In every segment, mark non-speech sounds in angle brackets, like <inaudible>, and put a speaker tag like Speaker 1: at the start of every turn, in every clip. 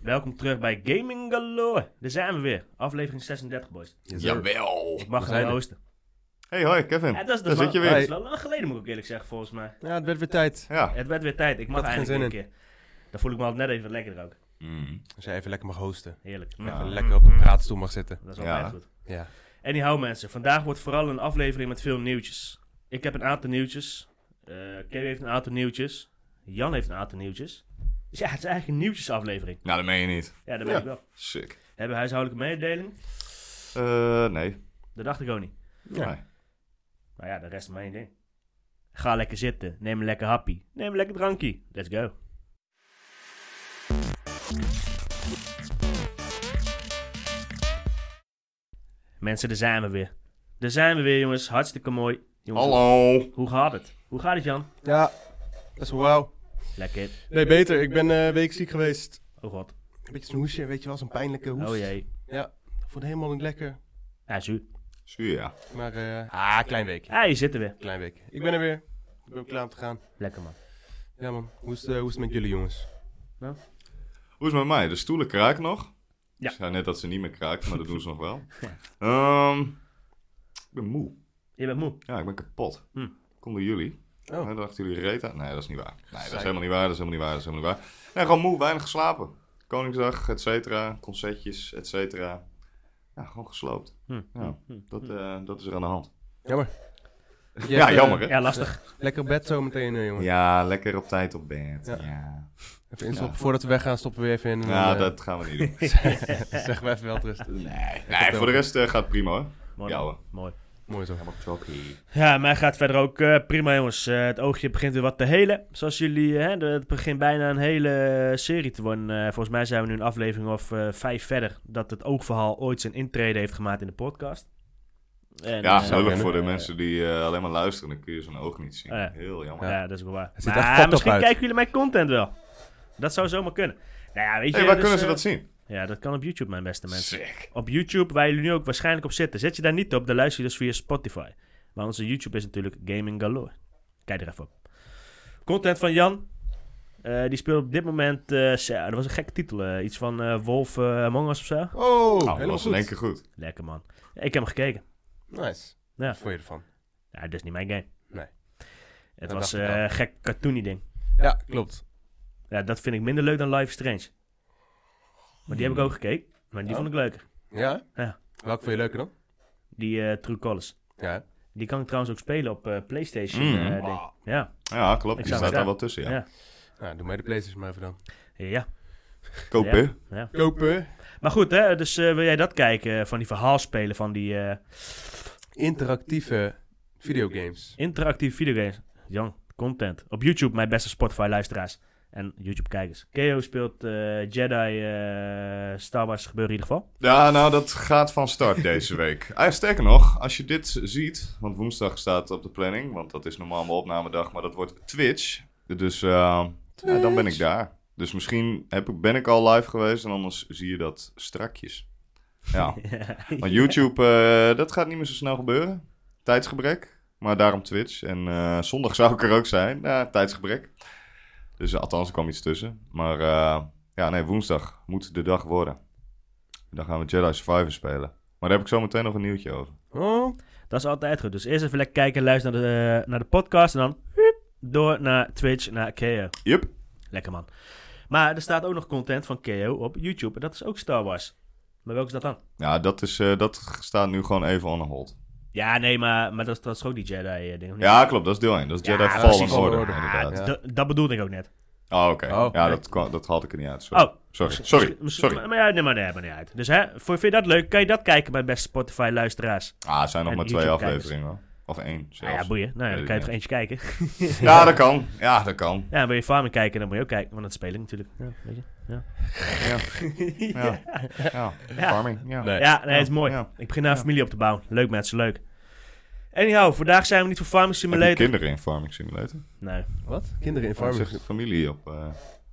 Speaker 1: Welkom terug bij Gaming Galore. Daar zijn we weer. Aflevering 36, boys.
Speaker 2: Jawel.
Speaker 1: Ik mag
Speaker 3: zijn
Speaker 1: het
Speaker 3: er.
Speaker 1: hosten.
Speaker 2: Hey, hoi Kevin.
Speaker 1: Ja, dat is de
Speaker 2: Daar
Speaker 1: man-
Speaker 2: zit je
Speaker 1: Dat
Speaker 2: weer.
Speaker 1: is wel lang geleden, moet ik eerlijk zeggen, volgens mij.
Speaker 3: Ja, het werd weer tijd.
Speaker 2: Ja,
Speaker 1: Het werd weer tijd. Ik mag
Speaker 3: had er geen
Speaker 1: eigenlijk een keer. Dan voel ik me altijd net even wat lekkerder ook.
Speaker 2: Mm.
Speaker 3: Als jij even lekker mag hosten.
Speaker 1: Heerlijk. Nou,
Speaker 2: Ja.
Speaker 3: Even lekker op een praatstoel mag zitten.
Speaker 1: Dat is wel
Speaker 2: Ja.
Speaker 1: erg goed.
Speaker 3: Ja.
Speaker 1: Anyhow mensen, vandaag wordt vooral een aflevering met veel nieuwtjes. Ik heb een aantal nieuwtjes. Eh Kevin heeft een aantal nieuwtjes. Jan heeft een aantal nieuwtjes. Dus ja, het is eigenlijk een nieuwtjesaflevering.
Speaker 2: nou dat meen je niet.
Speaker 1: Ja, dat weet
Speaker 2: Ja.
Speaker 1: ik wel.
Speaker 2: Sick.
Speaker 1: Hebben we huishoudelijke mededeling?
Speaker 2: Eh, nee.
Speaker 1: Dat dacht ik ook niet.
Speaker 3: Ja.
Speaker 2: Nee.
Speaker 1: Nou ja, de rest is mijn ding. Ga lekker zitten. Neem een lekker happy. Neem een lekker drankje. Let's go. Mensen, daar zijn we weer. Daar zijn we weer, jongens. Hartstikke mooi. Jongens,
Speaker 2: Hallo.
Speaker 1: Hoe gaat het? Hoe gaat het, Jan?
Speaker 3: Ja, dat is wauw.
Speaker 1: Lekker.
Speaker 3: Nee, beter. Ik ben eh, een week ziek geweest.
Speaker 1: Oh god.
Speaker 3: Een beetje zo'n hoesje, weet je wel, zo'n pijnlijke hoest.
Speaker 1: Oh jee.
Speaker 3: Ja, voelde helemaal niet lekker.
Speaker 1: Ja, zuur.
Speaker 2: Zie je, ja.
Speaker 3: Maar, eh, ah, klein week.
Speaker 1: Ah, je zit er weer.
Speaker 3: Klein week. Ik ben er weer. Ik ben ook klaar om te gaan.
Speaker 1: Lekker, man.
Speaker 3: Ja man, hoe is, het, eh, hoe is het met jullie jongens?
Speaker 2: Hoe is het met mij? De stoelen kraken nog.
Speaker 1: Ja.
Speaker 2: Ik zei net dat ze niet meer kraken, maar dat doen ze nog
Speaker 1: <laughs>
Speaker 2: wel. Ehm, ik ben moe.
Speaker 1: Je bent moe.
Speaker 2: Ja, ik ben kapot.
Speaker 1: Hm.
Speaker 2: Kom door jullie.
Speaker 3: Oh.
Speaker 2: Oh. dachten jullie reet aan? Nee, dat is niet waar. Nee, dat is
Speaker 3: Zeker.
Speaker 2: helemaal niet waar. Dat is helemaal niet waar. Dat is helemaal niet waar. Nee, gewoon moe. Weinig geslapen. Koningsdag, et cetera. Concertjes, et cetera. Ja, gewoon gesloopt.
Speaker 1: Hm.
Speaker 2: Ja,
Speaker 1: Hm.
Speaker 2: dat, eh, dat is er aan de hand.
Speaker 3: Jammer.
Speaker 2: Ja, jammer, hè?
Speaker 1: Ja, lastig.
Speaker 3: eh, Lekker bed zo meteen eh, jongen.
Speaker 2: Ja, lekker op tijd op bed.
Speaker 3: Ja.
Speaker 2: ja.
Speaker 3: Even instappen.
Speaker 2: Ja.
Speaker 3: Voordat we weggaan stoppen we weer even in. en
Speaker 2: Nou,
Speaker 3: dan, eh,
Speaker 2: dat gaan we niet doen.
Speaker 3: <laughs>
Speaker 2: <laughs>
Speaker 3: zeggen we even wel rusten.
Speaker 2: Nee, nee voor de rest eh, gaat het prima hoor.
Speaker 1: Mooi.
Speaker 2: Ja
Speaker 1: man.
Speaker 2: hoor.
Speaker 1: Mooi.
Speaker 3: Mooi zo.
Speaker 1: Ja, mij gaat verder ook eh, prima, jongens. Eh, het oogje begint weer wat te helen. Zoals jullie, eh, hè, de- het begint bijna een hele eh, serie te worden. Eh, volgens mij zijn we nu een aflevering of eh, vijf verder. Dat het oogverhaal ooit zijn intrede heeft gemaakt in de podcast. En,
Speaker 2: Ja,
Speaker 1: eh,
Speaker 2: gelukkig
Speaker 3: eh,
Speaker 2: voor de
Speaker 1: eh,
Speaker 2: mensen die eh, alleen maar luisteren, dan kun je zo'n oog niet zien.
Speaker 1: Oh, Ja.
Speaker 2: Heel jammer.
Speaker 1: eh, Ja, dat is wel waar.
Speaker 3: Het ziet
Speaker 1: Maar
Speaker 3: echt fucked up
Speaker 1: misschien
Speaker 3: uit.
Speaker 1: kijken jullie mijn content wel. Dat zou zomaar kunnen. Nou ja, weet je,
Speaker 2: hey, waar
Speaker 1: dus,
Speaker 2: kunnen ze
Speaker 1: eh,
Speaker 2: dat zien?
Speaker 1: Ja, dat kan op YouTube, mijn beste mensen.
Speaker 2: Sick.
Speaker 1: op YouTube, waar jullie nu ook waarschijnlijk op zitten. Zet je daar niet op, dan luister je dus via Spotify. Maar onze YouTube is natuurlijk Gaming Galore. Kijk er even op. Content van Jan. Eh, die speelt op dit moment... eh, zo, dat was een gekke titel. eh, iets van eh, Wolf eh, Among Us of zo.
Speaker 3: Oh,
Speaker 2: Nou, dat
Speaker 3: helemaal
Speaker 2: was in
Speaker 3: goed.
Speaker 2: één keer goed.
Speaker 1: Lekker man. Ja, ik heb hem gekeken.
Speaker 3: Nice.
Speaker 1: Ja.
Speaker 3: Wat vond je ervan?
Speaker 1: Ja, dit is niet mijn game.
Speaker 3: Nee.
Speaker 1: Het
Speaker 3: Dat
Speaker 1: was
Speaker 3: dacht ik
Speaker 1: eh,
Speaker 3: al.
Speaker 1: een gek cartoony ding.
Speaker 3: Ja, klopt.
Speaker 1: Ja, dat vind ik minder leuk dan Life is Strange. Maar die heb ik ook gekeken. Maar die
Speaker 3: Oh.
Speaker 1: vond ik leuker.
Speaker 3: Ja?
Speaker 1: Ja.
Speaker 3: Welke vond je leuker dan?
Speaker 1: Die eh, True Colors.
Speaker 3: Ja.
Speaker 1: Die kan ik trouwens ook spelen op eh, PlayStation.
Speaker 3: Hmm.
Speaker 2: Mm.
Speaker 1: eh, ding.
Speaker 3: Wow.
Speaker 1: Ja.
Speaker 2: Ja, klopt.
Speaker 1: Ik
Speaker 2: Die
Speaker 1: zag
Speaker 2: staat
Speaker 1: het,
Speaker 2: daar
Speaker 1: ja.
Speaker 2: wel tussen, ja.
Speaker 1: Ja.
Speaker 3: Nou, doe mij de PlayStation maar even dan.
Speaker 1: Ja.
Speaker 2: Kopen.
Speaker 1: Ja.
Speaker 3: Kopen.
Speaker 1: Maar goed, hè, dus eh, wil jij dat kijken eh, van die verhaalspelen van die eh,
Speaker 3: Interactieve videogames.
Speaker 1: interactieve videogames? Jan, content. Op YouTube, mijn beste Spotify-luisteraars en YouTube-kijkers. Keo speelt eh, Jedi eh, Star Wars gebeuren in ieder geval.
Speaker 2: Ja, nou, dat gaat van start deze week. Ah, sterker nog, als je dit ziet, want woensdag staat op de planning, want dat is normaal mijn opnamedag, maar dat wordt Twitch. Dus eh, ja, dan ben ik daar. Dus misschien heb ik, ben ik al live geweest en anders zie je dat strakjes. Ja, want YouTube, eh, dat gaat niet meer zo snel gebeuren. Tijdsgebrek, maar daarom Twitch. En eh, zondag zou ik er ook zijn, ja, tijdsgebrek. Dus eh, althans, er kwam iets tussen. Maar eh, ja, nee, woensdag moet de dag worden. Dan gaan we Jedi Survivor spelen. Maar daar heb ik zo meteen nog een nieuwtje over.
Speaker 3: Oh,
Speaker 1: Dat is altijd goed. Dus eerst even lekker kijken, luisteren naar de, eh, naar de podcast en dan hup, door naar Twitch, naar Keo.
Speaker 2: Yup.
Speaker 1: Lekker man. Maar er staat ook nog content van Keo op YouTube en dat is ook Star Wars. Maar welke is dat dan?
Speaker 2: Ja, dat, is, eh, dat staat nu gewoon even on hold.
Speaker 1: Ja, nee, maar, maar dat, is, dat is ook die eh, Jedi-ding.
Speaker 2: Ja, klopt. Dat is deel 1. Dat is
Speaker 1: Ja,
Speaker 2: Jedi
Speaker 1: dat is
Speaker 2: Fallen
Speaker 1: precies.
Speaker 2: Order.
Speaker 3: Fallen Order.
Speaker 2: inderdaad.
Speaker 3: Ja.
Speaker 1: Dat bedoelde ik ook net.
Speaker 2: Oh, oké.
Speaker 3: Oh,
Speaker 2: ja,
Speaker 3: nee.
Speaker 2: dat, kwa- dat had ik er niet uit. Sorry.
Speaker 1: Oh,
Speaker 2: Sorry.
Speaker 1: Misschien-
Speaker 2: Sorry.
Speaker 1: misschien-
Speaker 2: Sorry.
Speaker 1: Maar, ja, nee, maar nee, maar niet uit. Dus hè, voor- vind je dat leuk? Kan je dat kijken bij beste Spotify-luisteraars?
Speaker 2: Ah, er zijn nog
Speaker 1: En
Speaker 2: maar twee
Speaker 1: YouTube-kijkers.
Speaker 2: afleveringen hoor. Of één
Speaker 1: Nou ja,
Speaker 2: zelfs.
Speaker 1: boeien. Nou ja, dan
Speaker 2: Weet
Speaker 1: kan je
Speaker 2: ik
Speaker 1: toch eentje kijken. <laughs>
Speaker 2: Ja, dat kan. Ja, dat kan.
Speaker 1: Ja, wil je Farming kijken, dan moet je ook kijken. Want dat speel ik natuurlijk. Ja, weet je. <laughs>
Speaker 2: Ja. Ja. Ja. Farming. Ja.
Speaker 3: Nee.
Speaker 1: Ja, nee, het is mooi.
Speaker 2: Ja.
Speaker 1: Ik begin daar een familie op te bouwen. Leuk mensen, leuk. Anyhow, vandaag zijn we niet voor Farming
Speaker 2: Heb je
Speaker 1: Simulator.
Speaker 2: kinderen in Farming Simulator?
Speaker 1: Nee.
Speaker 3: wat? Oh, Kinderen in
Speaker 2: Farming
Speaker 3: farming.
Speaker 2: zegt familie op.
Speaker 1: Oh,
Speaker 2: eh.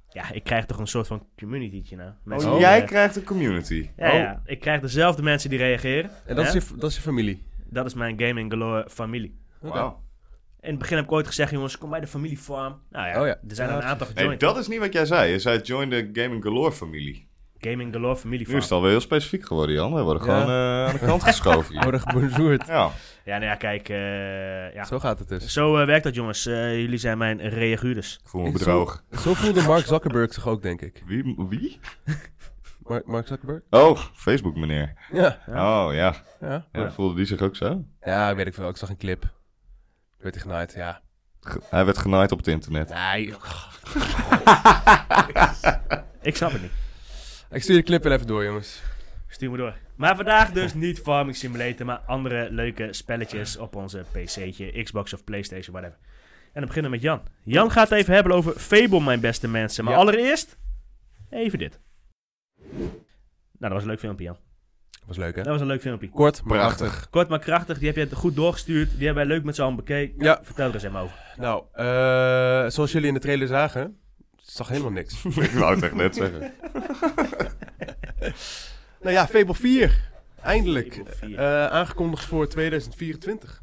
Speaker 1: Ja, ik krijg toch een soort van communitytje nou. Mensen
Speaker 2: Oh,
Speaker 1: die,
Speaker 2: jij
Speaker 1: eh,
Speaker 2: krijgt Oh. een community.
Speaker 1: ja, ja, ik krijg dezelfde mensen die reageren.
Speaker 3: En dat,
Speaker 1: Ja?
Speaker 3: is je, dat is je familie.
Speaker 1: Dat is mijn Gaming Galore familie.
Speaker 3: Oké.
Speaker 2: Oh, Wauw.
Speaker 1: In het begin heb ik ooit gezegd, jongens, kom bij de familie farm. Nou ja,
Speaker 3: Oh ja.
Speaker 1: er zijn er
Speaker 3: Ja,
Speaker 1: een aantal
Speaker 2: Nee,
Speaker 1: gejoind.
Speaker 2: dat is niet wat jij zei. Je zei join de Gaming Galore familie.
Speaker 1: Gaming Galore, familie
Speaker 2: Nu is het
Speaker 1: van.
Speaker 2: alweer heel specifiek geworden, Jan. We worden
Speaker 3: Ja.
Speaker 2: gewoon eh, aan de
Speaker 3: <laughs>
Speaker 2: kant geschoven hier.
Speaker 3: Worden <laughs> gebonjourd.
Speaker 2: Ja,
Speaker 1: Ja, nou ja, kijk. eh, ja. Zo,
Speaker 3: Zo gaat het dus.
Speaker 1: eh, werkt dat, jongens. Eh, jullie zijn mijn reagures.
Speaker 2: ik voel me
Speaker 3: Ik
Speaker 2: bedrogen.
Speaker 3: Zo voelde Mark Zuckerberg zich ook, denk ik.
Speaker 2: Wie, wie?
Speaker 3: Mark, Mark Zuckerberg?
Speaker 2: Oh, Facebook meneer.
Speaker 3: Ja.
Speaker 2: Oh, ja.
Speaker 3: ja.
Speaker 2: ja.
Speaker 1: Ja.
Speaker 2: Voelde die zich ook zo?
Speaker 3: Ja, weet ik veel. Ik zag een clip. Werd hij genaaid, ja.
Speaker 2: Ge- Hij werd genaaid op het internet.
Speaker 3: Nee.
Speaker 1: Ik snap het niet.
Speaker 3: Ik stuur de clip wel even door, jongens.
Speaker 1: Stuur me door. Maar vandaag dus niet Farming Simulator, maar andere leuke spelletjes op onze PC'tje, Xbox of Playstation, whatever. En dan beginnen we met Jan. Jan gaat het even hebben over Fable, mijn beste mensen. Maar
Speaker 3: Ja.
Speaker 1: allereerst, even dit. Nou, dat was een leuk filmpje, Jan.
Speaker 3: Was leuk, hè?
Speaker 1: Dat was een leuk filmpje.
Speaker 3: Kort, maar
Speaker 2: Prachtig.
Speaker 3: krachtig.
Speaker 1: Kort maar krachtig, die heb je goed doorgestuurd. Die hebben wij leuk met z'n allen bekeken.
Speaker 3: Ja.
Speaker 1: Vertel er eens even over.
Speaker 3: Nou, eh, zoals jullie in de trailer zagen, zag helemaal niks.
Speaker 2: <laughs> ik wou het echt net zeggen.
Speaker 3: nou ja, Fable 4. Eindelijk.
Speaker 1: Fable 4.
Speaker 3: Eh, aangekondigd voor 2024.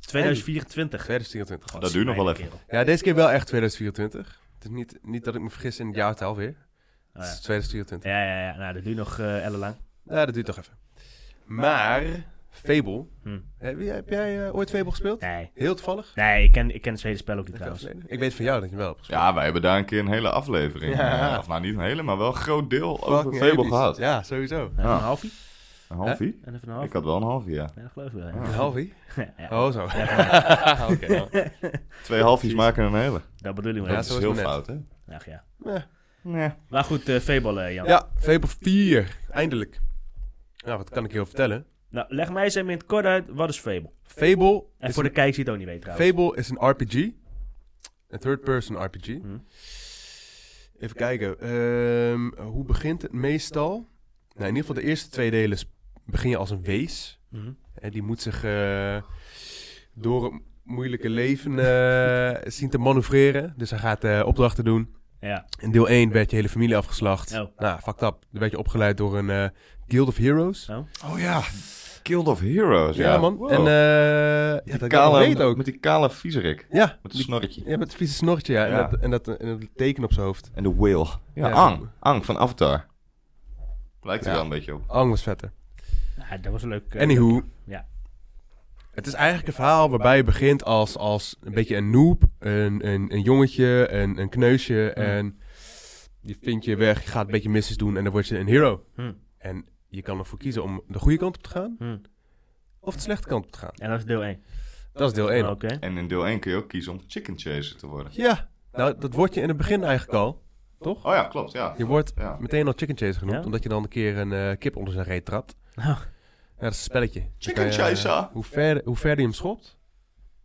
Speaker 1: 2024.
Speaker 3: 2024.
Speaker 1: Oh,
Speaker 2: Dat duurt nog wel even.
Speaker 1: Kerel.
Speaker 3: Ja, deze keer wel echt 2024. Het is niet, niet dat ik me vergis in het jaartal weer.
Speaker 1: Oh,
Speaker 3: Het is
Speaker 1: ja.
Speaker 3: 2024.
Speaker 1: Ja, ja, ja. Nou, dat duurt nog eh ellenlang.
Speaker 3: Ja, dat duurt toch even. Maar, Fable.
Speaker 1: Hm.
Speaker 3: Heb, jij- heb jij eh, ooit Fable gespeeld?
Speaker 1: Nee.
Speaker 3: Heel toevallig.
Speaker 1: Nee, ik ken, ik ken het hele spel ook niet trouwens.
Speaker 3: Ik weet van jou dat je hem wel hebt gespeeld.
Speaker 2: Ja, wij hebben daar een keer een hele aflevering.
Speaker 3: Ja.
Speaker 2: eh, of nou, niet een hele, maar wel een groot deel over
Speaker 3: Fucking
Speaker 2: Fable
Speaker 3: episch.
Speaker 2: gehad.
Speaker 3: Ja, sowieso.
Speaker 1: Nou, Even
Speaker 2: Ja.
Speaker 1: Een halfie?
Speaker 2: Een halfie?
Speaker 1: En even een halfie.
Speaker 2: Ik had wel een halfie, ja.
Speaker 1: Ja, dat geloof ik wel. Ja.
Speaker 3: Een halfie?
Speaker 1: <laughs> Ja,
Speaker 3: Oh, zo. Oké. <laughs> ja.
Speaker 2: Twee halfjes maken een hele.
Speaker 1: Dat bedoel ik
Speaker 3: Ja,
Speaker 1: wel.
Speaker 2: dat
Speaker 1: eens.
Speaker 2: is
Speaker 3: zo is
Speaker 2: heel
Speaker 3: het net.
Speaker 2: fout, hè?
Speaker 1: Ach, ja.
Speaker 3: Eh.
Speaker 2: Nee.
Speaker 1: Maar goed, eh Fable, eh, Jan.
Speaker 3: Ja, Fable 4. Eindelijk. Nou, wat kan ik hierover vertellen?
Speaker 1: Nou, leg mij eens even in het kort uit, wat is Fable?
Speaker 3: Fable
Speaker 1: En
Speaker 3: is,
Speaker 1: voor de
Speaker 3: een,
Speaker 1: kijkers die het ook niet weten trouwens.
Speaker 3: Fable is een RPG. Een third-person RPG. Even kijken. ehm, hoe begint het meestal? Nou, in ieder geval de eerste twee delen sp- begin je als een wees.
Speaker 1: Mhm.
Speaker 3: En die moet zich eh, door het moeilijke leven eh, zien te manoeuvreren. Dus hij gaat eh, opdrachten doen.
Speaker 1: Ja.
Speaker 3: In deel 1 werd je hele familie afgeslacht.
Speaker 1: Oh.
Speaker 3: Nou, fucked up. Dan werd je opgeleid door een eh, Guild of Heroes.
Speaker 1: Oh.
Speaker 2: Oh ja, Guild of Heroes.
Speaker 3: Ja, man.
Speaker 2: Wow.
Speaker 3: En eh ja,
Speaker 2: die
Speaker 3: dat
Speaker 2: kale,
Speaker 3: weet ook.
Speaker 2: Met die kale viezerik.
Speaker 3: Ja,
Speaker 2: Met het snorretje.
Speaker 3: ja, met het vieze snortje, ja.
Speaker 2: Ja.
Speaker 3: En, dat, en, dat, en dat teken op zijn hoofd.
Speaker 2: En de whale. Ja,
Speaker 3: Ja.
Speaker 2: Ang. Ang van Avatar. Lijkt er
Speaker 3: Ja.
Speaker 2: wel een beetje op.
Speaker 3: Ang was vetter.
Speaker 1: Ja, dat was een leuk... eh,
Speaker 3: Anywho.
Speaker 1: Ja.
Speaker 3: Het is eigenlijk een verhaal waarbij je begint als, als een beetje een noob, een, een, een jongetje, een, een kneusje.
Speaker 1: Hmm.
Speaker 3: En je vindt je weg, je gaat een beetje missies doen en dan word je een hero.
Speaker 1: Hm.
Speaker 3: En je kan ervoor kiezen om de goede kant op te gaan
Speaker 1: hm.
Speaker 3: of de slechte kant op te gaan.
Speaker 1: En dat is deel 1.
Speaker 3: Dat is deel 1.
Speaker 1: Oké.
Speaker 2: En in deel 1 kun je ook kiezen om chicken chaser te worden.
Speaker 3: Ja, nou, dat word je in het begin eigenlijk al.
Speaker 2: Oh ja, klopt, ja.
Speaker 3: Je wordt
Speaker 2: Ja.
Speaker 3: meteen al chicken chaser genoemd,
Speaker 1: Ja?
Speaker 3: omdat je dan een keer een eh, kip onder zijn reet trapt.
Speaker 1: Oh.
Speaker 3: Ja, dat is een spelletje. Dan
Speaker 2: Chicken
Speaker 3: kan je, eh,
Speaker 2: chaser.
Speaker 3: Hoe ver, hoe verder je hem schopt,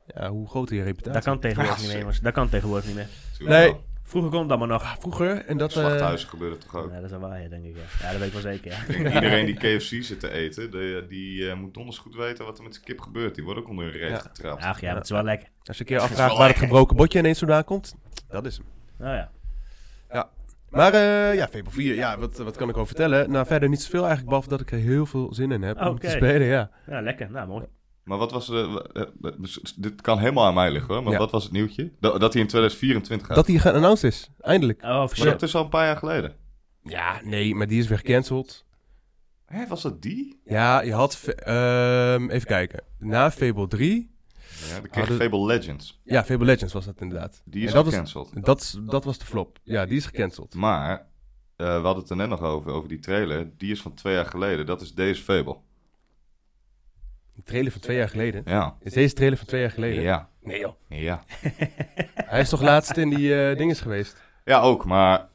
Speaker 3: ja, hoe groter je reputatie.
Speaker 1: Dat kan tegenwoordig
Speaker 2: Ja,
Speaker 1: niet meer,
Speaker 2: zeker.
Speaker 1: jongens. Dat kan tegenwoordig niet meer.
Speaker 2: Tuurlijk
Speaker 3: Nee.
Speaker 2: wel.
Speaker 1: Vroeger kon dat maar nog.
Speaker 3: Ah, Vroeger, en dat... eh,
Speaker 2: Slachthuizen gebeurde
Speaker 3: <laughs>
Speaker 2: toch ook.
Speaker 1: Ja, dat is een waarheid, denk ik. Ja. ja, dat weet ik wel zeker. Ja.
Speaker 2: <laughs> Ik denk iedereen die KFC zit te eten, de- die eh, moet donders goed weten wat er met zijn kip gebeurt. Die wordt ook onder een reet
Speaker 3: Ja.
Speaker 2: getrapt.
Speaker 1: Ach ja, dat is wel lekker.
Speaker 3: als je een keer afvraagt waar het gebroken botje ineens vandaan komt, dat is hem.
Speaker 1: Nou ja.
Speaker 3: Maar eh, ja, Fable 4, ja, wat, wat kan ik over vertellen? Nou, verder niet zoveel eigenlijk, behalve dat ik er heel veel zin in heb om
Speaker 1: Oké.
Speaker 3: te spelen, ja.
Speaker 1: Ja, lekker. Nou, mooi.
Speaker 2: Maar wat was... eh, w- eh, w- dus dit kan helemaal aan mij liggen hoor, maar
Speaker 3: Ja.
Speaker 2: wat was het nieuwtje? Dat, dat hij in 2024 gaat.
Speaker 3: Dat die geannounced is, eindelijk.
Speaker 1: Oh,
Speaker 2: Maar
Speaker 1: shit.
Speaker 2: dat is al een paar jaar geleden.
Speaker 3: Ja, nee, maar die is weer gecanceld.
Speaker 2: Hé, was dat die?
Speaker 3: Ja, je had. Fa- ehm, even kijken. Na Fable 3.
Speaker 2: Ja, dan kreeg
Speaker 3: Ah, dat-
Speaker 2: Fable Legends.
Speaker 3: Ja, Fable Legends was dat inderdaad.
Speaker 2: Die is
Speaker 3: En dat was-
Speaker 2: gecanceld.
Speaker 3: Dat, is- dat was de flop. Ja, die is gecanceld.
Speaker 2: Maar eh, we hadden het er net nog over, over die trailer. Die is van twee jaar geleden. Dat is deze Fable.
Speaker 3: De trailer van twee jaar geleden.
Speaker 2: Ja.
Speaker 3: Is deze trailer van twee jaar geleden?
Speaker 2: Ja.
Speaker 3: Nee joh.
Speaker 2: Ja.
Speaker 3: Hij is toch laatst in die eh dinges geweest?
Speaker 2: Ja, ook. Maar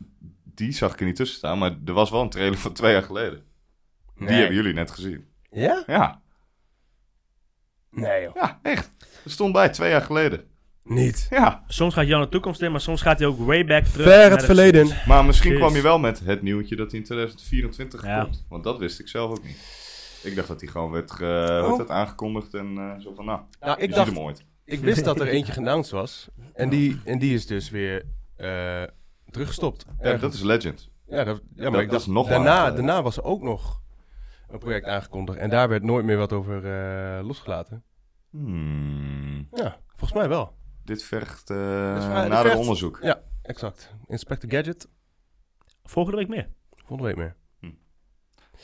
Speaker 2: die zag ik er niet tussen staan. Maar er was wel een trailer van twee jaar geleden. Die hebben jullie net gezien.
Speaker 3: Ja?
Speaker 2: Ja.
Speaker 3: Nee joh.
Speaker 2: Ja, echt. Er stond bij twee jaar geleden.
Speaker 3: Niet.
Speaker 2: Ja.
Speaker 1: Soms gaat Jan de toekomst in, maar soms gaat hij ook way back terug. naar
Speaker 3: Ver het
Speaker 1: de-
Speaker 3: verleden.
Speaker 2: Maar misschien
Speaker 1: Jeez.
Speaker 2: kwam je wel met het nieuwtje dat hij in 2024
Speaker 1: Ja.
Speaker 2: komt. Want dat wist ik zelf ook niet. Ik dacht dat hij gewoon werd, ge-
Speaker 3: Oh.
Speaker 2: hoe heet dat, aangekondigd en eh, zo van, nou,
Speaker 3: Nou,
Speaker 2: ik
Speaker 3: ik dacht.
Speaker 2: hem ooit.
Speaker 3: Ik wist dat er eentje geannounced was. En die, en die is dus weer. eh, teruggestopt.
Speaker 2: Ja, dat is Legend.
Speaker 3: Ja, dat, ja maar
Speaker 2: Dat-
Speaker 3: ik
Speaker 2: dat
Speaker 3: dacht,
Speaker 2: is nog eh.
Speaker 3: daarna,
Speaker 2: later.
Speaker 3: daarna was er ook nog een project aangekondigd. En daar werd nooit meer wat over eh, losgelaten.
Speaker 2: Hmm.
Speaker 3: Ja, volgens mij wel.
Speaker 2: Dit vergt eh
Speaker 3: Dus, eh, dit
Speaker 2: nader
Speaker 3: vergt-
Speaker 2: onderzoek.
Speaker 3: Ja, exact. Inspector Gadget.
Speaker 1: Volgende week meer.
Speaker 3: Volgende week meer.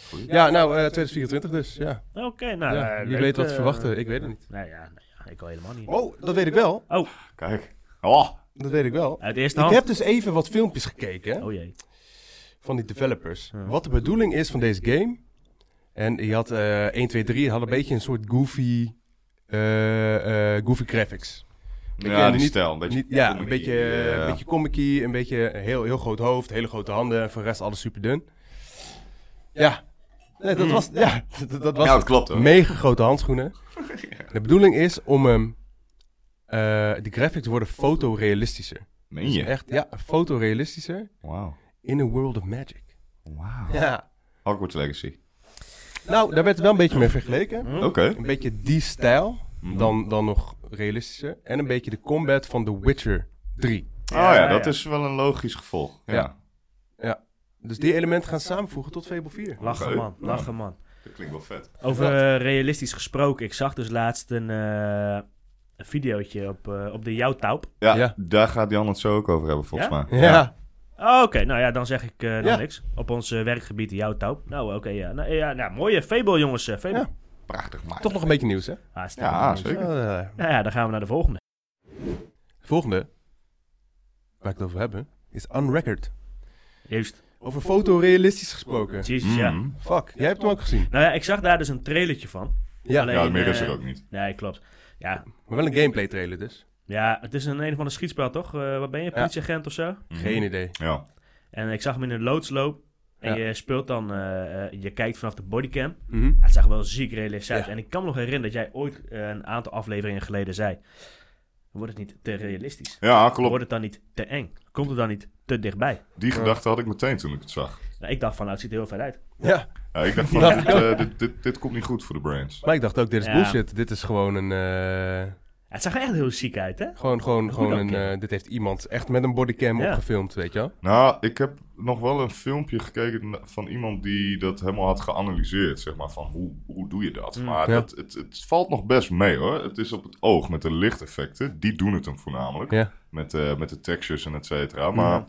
Speaker 2: Goed.
Speaker 3: Ja, nou, eh, 2024 dus, ja.
Speaker 1: Oké, nou...
Speaker 3: ja.
Speaker 1: eh,
Speaker 3: Wie
Speaker 1: leuk,
Speaker 3: weet wat te
Speaker 1: eh,
Speaker 3: verwachten, ik weet het niet.
Speaker 1: Nou ja, nou ja, ik al helemaal niet.
Speaker 3: Oh, dat weet ik wel.
Speaker 2: Kijk. Oh,
Speaker 3: Dat weet ik wel.
Speaker 1: Uit de eerste
Speaker 3: Ik
Speaker 1: hand.
Speaker 3: heb dus even wat filmpjes gekeken hè,
Speaker 1: Oh jee.
Speaker 3: van die developers.
Speaker 1: Ja.
Speaker 3: Wat de bedoeling is van deze game. En je had eh 1, 2, 3, had een beetje een soort goofy, eh, eh, goofy graphics.
Speaker 2: ja,
Speaker 3: ken
Speaker 2: die
Speaker 3: eh, niet-
Speaker 2: stijl. Een beetje
Speaker 3: Niet- ja, een
Speaker 2: comic.
Speaker 3: beetje, eh,
Speaker 2: Ja.
Speaker 3: een beetje comic een beetje een heel, heel groot hoofd, hele grote handen en voor de rest alles super dun. Ja, nee, dat
Speaker 2: Mm.
Speaker 3: was,
Speaker 1: Hmm.
Speaker 3: ja, <laughs> dat, dat was
Speaker 2: Ja, dat klopt hoor.
Speaker 3: mega grote
Speaker 2: <laughs>
Speaker 3: handschoenen. De bedoeling is om hem, eh, die graphics worden fotorealistischer. Dus
Speaker 2: Meen je?
Speaker 3: Echt, ja, fotorealistischer
Speaker 2: Wauw.
Speaker 3: in a world of magic.
Speaker 2: Wauw.
Speaker 3: Ja.
Speaker 2: Hogwarts Legacy.
Speaker 3: Nou, daar werd het wel een beetje mee
Speaker 1: Hm?
Speaker 3: vergeleken.
Speaker 2: Oké.
Speaker 3: Een beetje die stijl,
Speaker 2: Mhm.
Speaker 3: dan, dan nog realistischer. En een beetje de combat van The Witcher 3.
Speaker 2: Oh ja,
Speaker 1: Ja,
Speaker 2: dat
Speaker 1: ja.
Speaker 2: is wel een logisch gevolg. Ja.
Speaker 3: Ja. Dus die elementen gaan samenvoegen tot Fable 4.
Speaker 1: Lachen
Speaker 2: Oké.
Speaker 1: man, lachen man.
Speaker 2: Dat klinkt wel vet.
Speaker 1: Over
Speaker 3: Wat?
Speaker 1: eh, realistisch gesproken, ik zag dus laatst een, eh, een videootje op, eh, op de Jouwtaup.
Speaker 2: Ja,
Speaker 3: Ja.
Speaker 2: daar gaat Jan het zo ook over hebben volgens
Speaker 1: Ja?
Speaker 2: mij.
Speaker 3: Ja.
Speaker 1: Oh, Oké, nou ja, dan zeg ik eh, nog
Speaker 3: Ja.
Speaker 1: niks. Op ons eh, werkgebied de Jouwtaup. Nou, oké, ja. Nou, ja, nou, mooie Fable jongens, eh, Fable. Ah,
Speaker 3: Ja.
Speaker 2: Prachtig maar.
Speaker 3: Toch nog een beetje nieuws, hè?
Speaker 1: Hartstikke
Speaker 2: Ja,
Speaker 1: mooi.
Speaker 2: zeker.
Speaker 3: Eh,
Speaker 1: Nou ja, dan gaan we naar de volgende.
Speaker 3: volgende, waar ik het over heb, is Unrecord.
Speaker 1: Juist.
Speaker 3: Over fotorealistisch gesproken.
Speaker 1: Jezus, Oh. ja.
Speaker 3: Mm.
Speaker 2: Mhm.
Speaker 3: Fuck, jij hebt hem ook gezien.
Speaker 1: Nou ja, ik zag daar dus een trailertje van.
Speaker 3: Ja,
Speaker 1: Alleen-
Speaker 2: Ja, meer is er
Speaker 1: eh,
Speaker 2: ook niet.
Speaker 1: Nee, klopt. Ja,
Speaker 3: maar wel een gameplay trailer dus.
Speaker 1: ja het is een een of ander schietspel, toch? Eh wat ben je, politieagent of zo?
Speaker 2: Mhm.
Speaker 3: Geen idee.
Speaker 2: Ja.
Speaker 1: En ik zag hem in een loodsloop. En
Speaker 3: Ja.
Speaker 1: je speelt dan, eh, eh, je kijkt vanaf de bodycam.
Speaker 3: Mhm.
Speaker 1: Ja, het zag wel ziek realistisch uit.
Speaker 3: Ja.
Speaker 1: En ik kan me nog herinneren dat jij ooit eh, een aantal afleveringen geleden zei... Wordt het niet te realistisch?
Speaker 2: Ja, klopt.
Speaker 1: Wordt het dan niet te eng? Komt het dan niet te dichtbij?
Speaker 2: Die gedachte had ik meteen toen ik het zag.
Speaker 1: Nou, ik dacht van, nou, het ziet er heel ver uit.
Speaker 3: Ja,
Speaker 2: Ja, ik
Speaker 3: <laughs>
Speaker 2: dacht van,
Speaker 3: Ja.
Speaker 2: dit, eh, dit, dit, dit komt niet goed voor de brains.
Speaker 3: maar ik dacht ook, dit is
Speaker 1: Ja.
Speaker 3: bullshit. Dit is gewoon een... eh,
Speaker 1: Ja, het zag er echt heel ziek uit, hè?
Speaker 3: gewoon, gewoon, gewoon
Speaker 1: dan
Speaker 3: een...
Speaker 1: kennen.
Speaker 3: eh, dit heeft iemand echt met een bodycam
Speaker 1: Ja.
Speaker 3: opgefilmd, weet je wel?
Speaker 2: Nou, ik heb nog wel een filmpje gekeken van iemand die dat helemaal had geanalyseerd. Zeg maar, van hoe, hoe doe je dat?
Speaker 1: Mm.
Speaker 2: maar
Speaker 3: Ja.
Speaker 2: dat, het, het valt nog best mee hoor. Het is op het oog met de lichteffecten. Die doen het hem voornamelijk.
Speaker 3: Ja.
Speaker 2: Met, eh, met de textures en et cetera. Maar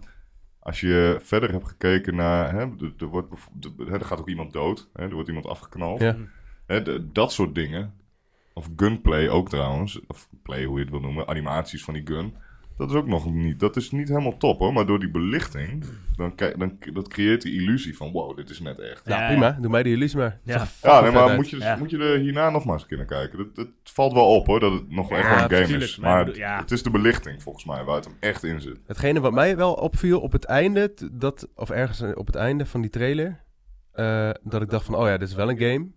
Speaker 2: als je verder hebt gekeken naar... Hè, er, er wordt, bev- de- hè, er gaat ook iemand dood. Hè, er wordt iemand afgeknald.
Speaker 3: Ja.
Speaker 2: Hè, de- dat soort dingen. Of gunplay ook trouwens. Of play, hoe je het wil noemen. Animaties van die gun. Dat is ook nog niet... Dat is niet helemaal top hoor. Maar door die belichting... Dan, kijk- dan, dat creëert die illusie van... Wow, dit is net echt.
Speaker 3: Nou,
Speaker 1: Ja.
Speaker 3: prima. Doe mij die illusie maar.
Speaker 1: Ja.
Speaker 2: Ja, nee,
Speaker 3: vet
Speaker 2: maar
Speaker 3: uit.
Speaker 2: moet je, dus-
Speaker 1: Ja.
Speaker 2: moet je er hierna nogmaals een keer naar kijken. Dat, dat valt wel op hoor, dat het nog echt wel een game
Speaker 1: tuurlijk,
Speaker 2: is.
Speaker 1: maar ik
Speaker 2: Maar
Speaker 1: bedoel- ja.
Speaker 2: het is de belichting volgens mij waar het hem echt in zit.
Speaker 3: Hetgene wat mij wel opviel op het einde, t- dat, of ergens eh, op het einde van die trailer, eh, dat ik dacht van, oh ja, dit is wel een game,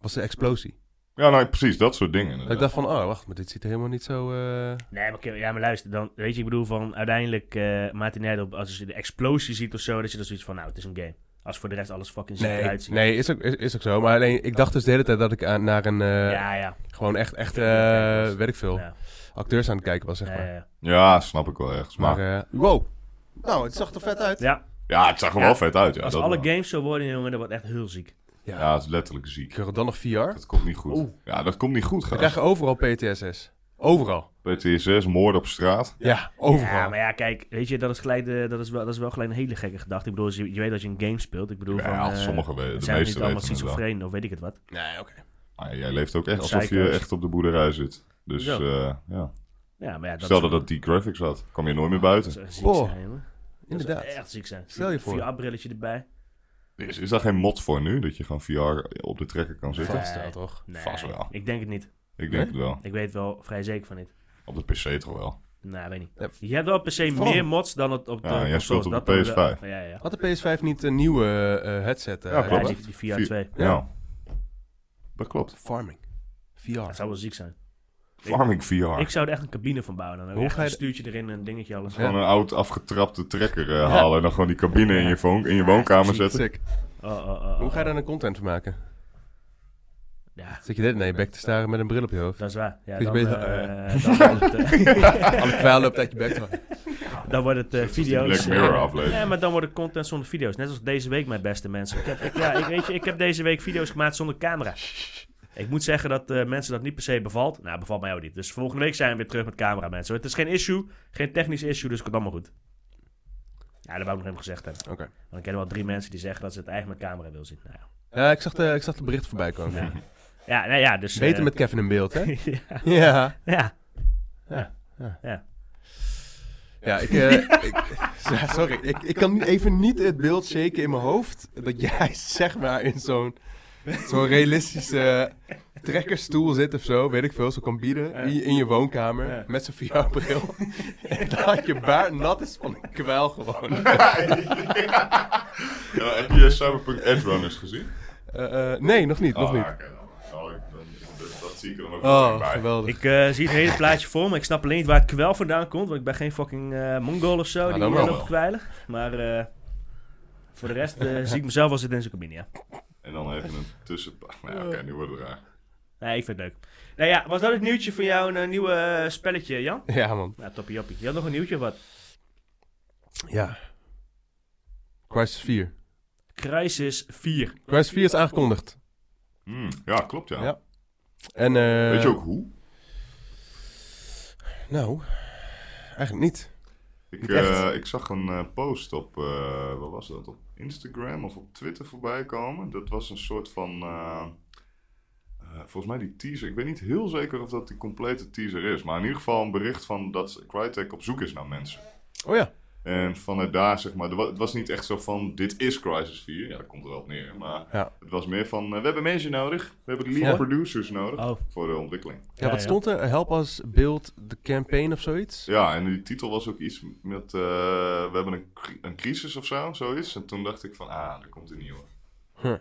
Speaker 3: was de explosie.
Speaker 2: Ja, nou precies, dat soort dingen.
Speaker 3: Dat ik dacht van, oh wacht, maar dit ziet er helemaal niet zo... eh,
Speaker 1: Nee, maar, ja, maar luister, dan weet je, ik bedoel van uiteindelijk, eh Martin Heidel, als je de explosie ziet of zo, dat je dan zoiets van, nou, het is een game. Als voor de rest alles fucking ziek
Speaker 3: Nee,
Speaker 1: eruit ziet.
Speaker 3: nee is, ook, is, is ook zo. Maar alleen, ik dacht dus de hele tijd dat ik aan, naar een, eh,
Speaker 1: ja, ja.
Speaker 3: gewoon echt, echt
Speaker 1: Ja,
Speaker 3: eh weet ik veel,
Speaker 1: ja.
Speaker 3: acteurs aan het kijken was, zeg maar.
Speaker 1: Eh,
Speaker 2: Ja, snap ik wel ergens. Maar
Speaker 3: maar, eh, wow. Nou, het zag er vet uit.
Speaker 1: ja,
Speaker 2: ja, het zag er
Speaker 1: Ja,
Speaker 2: wel vet uit. Ja,
Speaker 1: als
Speaker 2: dat
Speaker 1: alle
Speaker 2: wel.
Speaker 1: games zo worden, jongen, dat wordt echt heel ziek.
Speaker 2: Ja, het is letterlijk
Speaker 3: Ik
Speaker 2: ziek.
Speaker 3: hoor dan nog VR.
Speaker 2: Dat komt niet goed.
Speaker 1: Oeh.
Speaker 2: Ja, dat komt niet goed,
Speaker 3: Dan
Speaker 2: gast.
Speaker 3: krijg je overal PTSS. Overal.
Speaker 2: PTSS, moorden op straat.
Speaker 3: Ja, overal.
Speaker 1: Ja, maar ja, kijk, weet je, dat is, gelijk de, dat is, wel, dat is wel gelijk een hele gekke gedachte. Ik bedoel, als je, je weet dat je een game speelt. Ik bedoel,
Speaker 2: Ja,
Speaker 1: van, eh,
Speaker 2: sommige weten,
Speaker 1: het
Speaker 2: de
Speaker 1: zijn
Speaker 2: meeste
Speaker 1: niet allemaal
Speaker 2: weten het wel.
Speaker 1: schizofreen of weet ik het wat.
Speaker 3: Nee, oké.
Speaker 2: Maar jij leeft ook echt
Speaker 1: Of
Speaker 2: alsof je
Speaker 1: psycho's.
Speaker 2: echt op de boerderij zit. Dus
Speaker 1: Zo.
Speaker 2: eh, ja.
Speaker 1: Ja, maar ja, dat
Speaker 2: stel
Speaker 1: is-
Speaker 2: dat dat die graphics had, kwam je nooit meer buiten.
Speaker 1: dat zou echt ziek
Speaker 3: Boah,
Speaker 1: zijn, jongen. Dat zou
Speaker 3: Inderdaad.
Speaker 1: echt ziek zijn.
Speaker 3: Stel je voor.
Speaker 1: VR-brilletje erbij.
Speaker 2: Is, is daar geen mod voor nu, dat je gewoon VR op de trekker kan zitten?
Speaker 1: Nee.
Speaker 3: Vast wel, toch?
Speaker 1: Nee,
Speaker 2: Vast wel.
Speaker 1: ik denk het niet.
Speaker 2: Ik denk het wel.
Speaker 1: Ik weet wel vrij zeker van niet.
Speaker 2: Op de PC toch wel.
Speaker 1: Nou, weet niet.
Speaker 3: Ja.
Speaker 1: Je hebt wel per se
Speaker 3: Vooral-
Speaker 1: meer mods dan het op de
Speaker 2: Ja, jij
Speaker 1: consoles,
Speaker 2: speelt op de
Speaker 1: dat dan wel.
Speaker 2: PS5.
Speaker 1: Ja, ja, ja.
Speaker 3: Had de PS5 niet een nieuwe eh, eh, headset? eh,
Speaker 2: Ja,
Speaker 1: Ja,
Speaker 2: klopt.
Speaker 1: die,
Speaker 3: uitgebracht?
Speaker 1: die VR
Speaker 2: Vier-
Speaker 1: 2.
Speaker 2: Ja.
Speaker 3: Ja.
Speaker 2: Dat klopt.
Speaker 3: Farming. VR.
Speaker 1: Dat zou wel ziek zijn.
Speaker 2: Farming VR.
Speaker 1: Ik zou er echt een cabine van bouwen. Dan.
Speaker 3: Hoe
Speaker 1: Echt
Speaker 3: ga
Speaker 1: een
Speaker 3: je-
Speaker 1: stuurtje erin, en een dingetje, alles.
Speaker 2: Gewoon een oud afgetrapte trekker eh, halen en dan gewoon die cabine in je, vo- in je
Speaker 1: Ja,
Speaker 2: woonkamer
Speaker 1: precies.
Speaker 2: zetten.
Speaker 3: Sick.
Speaker 1: Oh, oh, oh, oh.
Speaker 3: Hoe ga je daar dan content van maken?
Speaker 1: Ja,
Speaker 3: Zit je dit naar je bek te staren met een bril op je hoofd?
Speaker 1: dat is waar. Ja,
Speaker 3: Ik
Speaker 1: dan,
Speaker 3: weet-
Speaker 1: eh, dan wordt het, eh,
Speaker 3: Alle
Speaker 1: <laughs>
Speaker 3: kwijl loopt uit je bek.
Speaker 1: Dan wordt het eh,
Speaker 2: die
Speaker 1: video's.
Speaker 2: Black Mirror
Speaker 1: Ja,
Speaker 2: aflevering.
Speaker 1: Ja, maar dan wordt het content zonder video's. Net als deze week, mijn beste mensen. Ik heb, ik- ja, ik, weet je, ik heb deze week video's gemaakt zonder camera. Ik moet zeggen dat eh, mensen dat niet per se bevalt. Nou, bevalt mij ook niet. Dus volgende week zijn we weer terug met camera, mensen. Het is geen issue, geen technisch issue, dus het komt allemaal goed. Ja, dat wou ik nog even gezegd hebben.
Speaker 3: Oké.
Speaker 1: Want ik ken wel drie mensen die zeggen dat ze het eigenlijk met camera wil zien. Nou, ja.
Speaker 3: Ja, ik zag de, ik zag de bericht voorbij komen.
Speaker 1: Ja. ja, nou ja, dus...
Speaker 3: Beter
Speaker 1: eh,
Speaker 3: met Kevin in beeld, hè?
Speaker 1: ja,
Speaker 3: ja.
Speaker 1: <laughs> ja,
Speaker 3: Ja, ik, eh, ik- ja, sorry. Ik, ik kan nu even niet het beeld shaken in mijn hoofd dat jij <laughs> zeg maar in zo'n zo'n realistische trekkerstoel zit of zo, weet ik veel, zo'n computer in, je- in je woonkamer
Speaker 1: Ja.
Speaker 3: met zo'n VR-bril. en dat je baard nat is van een kwel gewoon.
Speaker 2: Ja, heb je Cyberpunk Edge Runners gezien?
Speaker 3: Eh, eh, nee, nog niet, nog
Speaker 2: Ah,
Speaker 3: niet.
Speaker 2: oké, dan- oh, ik- dan- dat- Dat zie ik er dan ook meteen
Speaker 3: Oh,
Speaker 2: bij.
Speaker 3: geweldig.
Speaker 1: ik eh, zie het hele plaatje voor me. Ik snap alleen niet waar het kwel vandaan komt. Want ik ben geen fucking eh Mongool of zo.
Speaker 3: Nou,
Speaker 1: die
Speaker 3: dan
Speaker 1: eh,
Speaker 3: wel
Speaker 1: loopt
Speaker 2: Ah, wel.
Speaker 1: kwijlen. Maar eh, voor de rest
Speaker 2: <laughs>
Speaker 1: eh, zie ik mezelf wel zitten in zijn cabine, ja.
Speaker 2: En dan even een tussen... Nou ja, oké, nu wordt het raar.
Speaker 1: Nee, ik vind het leuk. Nou ja, was dat het nieuwtje van jou, een eh, nieuwe eh, spelletje, Jan?
Speaker 3: Ja, man.
Speaker 1: Nou, toppie joppie. Je had nog een nieuwtje of wat?
Speaker 3: Ja. Crisis 4.
Speaker 1: Crisis 4.
Speaker 3: Crisis 4 is aangekondigd.
Speaker 2: Hmm, ja, klopt ja.
Speaker 3: Ja. En, eh,
Speaker 2: Weet je ook hoe?
Speaker 3: Nou, eigenlijk niet.
Speaker 2: Ik,
Speaker 3: Niet echt.
Speaker 2: eh, ik zag een eh, post op, eh wat was dat, op Instagram of op Twitter voorbij komen. Dat was een soort van, eh, eh, volgens mij die teaser. Ik weet niet heel zeker of dat die complete teaser is. Maar in ieder geval een bericht van dat Crytek op zoek is naar mensen.
Speaker 3: Oh ja.
Speaker 2: En vanuit daar, zeg maar, er wa- het was niet echt zo van, dit is Crisis 4. Ja, dat komt er wel op neer. Maar
Speaker 3: Ja.
Speaker 2: het was meer van, eh, we hebben mensen nodig. We hebben lead
Speaker 3: Ja.
Speaker 2: producers nodig
Speaker 1: Oh.
Speaker 2: voor de ontwikkeling.
Speaker 3: Ja, wat stond er? Help us build the campaign of zoiets?
Speaker 2: Ja, en die titel was ook iets met... eh, we hebben een, cri- een crisis of zo, zoiets. En toen dacht ik van, ah, er komt een nieuwe.
Speaker 3: Huh.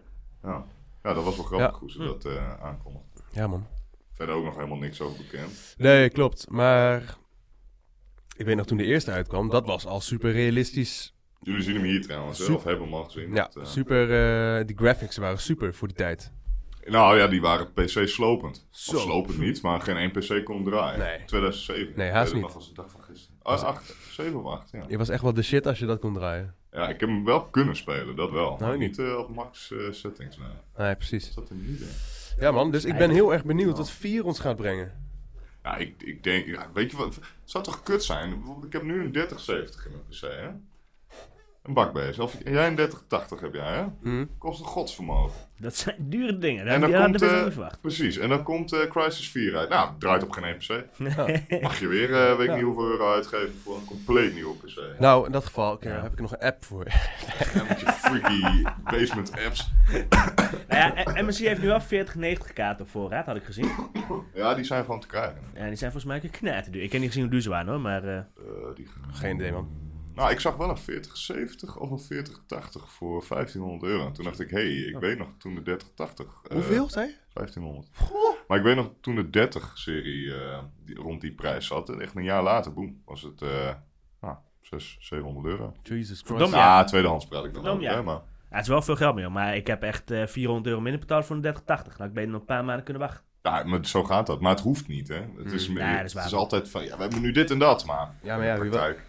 Speaker 2: Ja. ja, dat was wel grappig
Speaker 3: Ja. Hm.
Speaker 2: hoe ze dat eh aankondigden.
Speaker 3: Ja, man.
Speaker 2: Verder ook nog helemaal niks over bekend.
Speaker 3: Nee, klopt. Maar ik weet nog toen de eerste uitkwam, dat was al super realistisch.
Speaker 2: Jullie zien hem hier trouwens, hè,
Speaker 3: Super-
Speaker 2: of hebben hem al gezien.
Speaker 3: Ja,
Speaker 2: Dat, eh,
Speaker 3: super. eh, die graphics waren super voor die tijd.
Speaker 2: Nou ja, die waren PC-slopend.
Speaker 3: Zo.
Speaker 2: Of slopend niet, maar geen één PC kon hem draaien.
Speaker 3: Nee.
Speaker 2: 2007.
Speaker 3: Nee, haast
Speaker 2: Ik weet het
Speaker 3: niet.
Speaker 2: nog als de dag van gisteren. Oh, acht, 7 of 8, ja.
Speaker 3: Je was echt wel de shit als je dat kon draaien.
Speaker 2: Ja, ik heb hem wel kunnen spelen, dat wel. maar
Speaker 3: ik Nou, niet.
Speaker 2: niet eh, op max eh, settings, nee.
Speaker 3: Nee, Ah, precies.
Speaker 2: Is dat er niet, hè?
Speaker 3: Ja, man. Dus ik ben heel erg benieuwd wat 4 ons gaat brengen.
Speaker 2: Ja, ik, ik denk, ja, weet je wat, het zou toch kut zijn? Bijvoorbeeld, Ik heb nu een 3070 in mijn PC, hè? Een bakbeest. Of en jij een 3080 heb jij, hè?
Speaker 3: Hm?
Speaker 2: Kost een godsvermogen.
Speaker 1: Dat zijn dure dingen. Dat,
Speaker 2: En dan
Speaker 1: ja,
Speaker 2: komt,
Speaker 1: dat is
Speaker 2: eh,
Speaker 1: niet verwacht.
Speaker 2: Precies, en dan komt eh, Crisis 4 uit. Nou, het draait op geen
Speaker 1: <laughs>
Speaker 2: één PC. Mag je weer, eh, weet ik
Speaker 3: Ja.
Speaker 2: niet hoeveel euro uitgeven voor een compleet nieuwe PC. Dan
Speaker 3: Nou, in dat geval oké, daar heb ik er nog een app voor. <laughs>
Speaker 2: moet je
Speaker 1: <laughs>
Speaker 2: freaky basement apps.
Speaker 1: Nou ja, en- en MSI heeft nu wel 4090 kaarten op voorraad, had ik gezien.
Speaker 2: Ja, die zijn gewoon te krijgen.
Speaker 1: Ja, die zijn volgens mij knijten duur. Ik heb niet gezien hoe duur ze waren hoor, maar... eh,
Speaker 2: Eh, die...
Speaker 3: Geen idee, man.
Speaker 2: Nou, ik zag wel een 4070 of een 4080 voor 1500 euro. En toen dacht ik, hé, hey, ik weet nog toen de 3080... eh,
Speaker 3: Hoeveel, zei je?
Speaker 2: 1500. Maar ik weet nog toen de 30-serie die, rond die prijs zat. En echt een jaar later, boem, was het eh nou, 600, 700 euro.
Speaker 3: Jesus Christ.
Speaker 1: Verdomme,
Speaker 2: Ja,
Speaker 1: Ja.
Speaker 2: Ah, tweedehands praat ik dan
Speaker 1: Verdomme,
Speaker 2: ook.
Speaker 1: ja.
Speaker 2: hè, maar
Speaker 1: ja, het is wel veel geld meer, hoor, maar ik heb echt eh, 400 euro minder betaald voor een 3080. Nou, ik ben nog een paar maanden kunnen wachten.
Speaker 2: ja, maar zo gaat dat. Maar het hoeft niet, hè. Het is,
Speaker 1: Nee, Mm, nou, dat is
Speaker 2: het
Speaker 1: waar.
Speaker 2: is altijd van, ja, we hebben nu dit en dat, maar...
Speaker 3: Ja, maar ja, wie wel.
Speaker 2: Praktijk.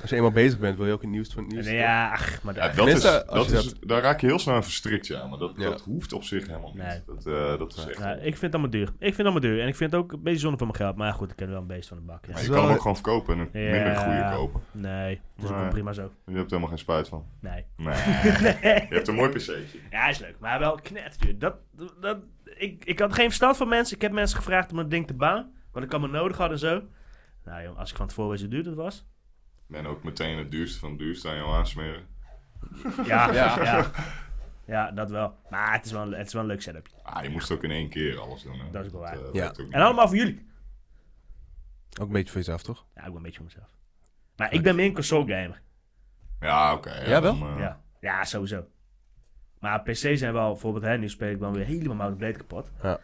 Speaker 3: Als je eenmaal bezig bent, wil je ook het nieuws van het nieuws.
Speaker 1: En, ja, ach, maar
Speaker 2: Ja,
Speaker 1: daar-
Speaker 2: dat is,
Speaker 3: Tenminste,
Speaker 2: dat
Speaker 3: als je
Speaker 2: is, daar raak je heel snel aan verstrikt, ja. Maar dat,
Speaker 3: Ja.
Speaker 2: dat hoeft op zich helemaal niet.
Speaker 1: Nee.
Speaker 2: Dat, eh, dat is echt...
Speaker 1: ja, nou, ik vind het allemaal duur. Ik vind het allemaal duur. En ik vind het ook een beetje zonde van mijn geld. Maar goed, ik ken wel een beest van de bak.
Speaker 2: Maar
Speaker 1: Ja.
Speaker 2: je
Speaker 3: Zo-
Speaker 2: kan hem ook gewoon verkopen en een
Speaker 1: Ja.
Speaker 2: minder goede kopen.
Speaker 1: Nee, dat is ook
Speaker 2: Nee.
Speaker 1: wel prima zo.
Speaker 2: Je hebt er helemaal geen spijt van.
Speaker 1: Nee.
Speaker 2: Nee.
Speaker 1: <laughs>
Speaker 2: Je hebt een mooi pc'tje.
Speaker 1: Ja, is leuk. Maar wel knetterduur. Dat, dat, ik, ik had geen verstand van mensen. Ik heb mensen gevraagd om dat ding te baan. Wat ik allemaal nodig had en zo. Nou jong, als ik van tevoren wist hoe duur dat was.
Speaker 2: En ook meteen het duurste van het duurste aan jou aansmeren.
Speaker 1: Ja, ja.
Speaker 3: Ja.
Speaker 1: ja. dat wel. Maar het is wel, een- het is wel een leuk setupje.
Speaker 2: Ah, je moest ook in één keer alles doen. Hè?
Speaker 1: Dat is wel waar.
Speaker 2: eh,
Speaker 3: Ja.
Speaker 2: werkt ook niet.
Speaker 1: En allemaal voor jullie.
Speaker 3: Ook een beetje voor jezelf, toch?
Speaker 1: Ja, ik ben een beetje voor mezelf. Maar ik ben meer een console gamer.
Speaker 2: Ja, oké.
Speaker 3: Ja, wel?
Speaker 2: dan, eh,
Speaker 1: Ja, ja sowieso. Maar PC zijn wel, bijvoorbeeld, hè, nu speel ik dan weer helemaal Mountain Blade kapot.
Speaker 3: Ja.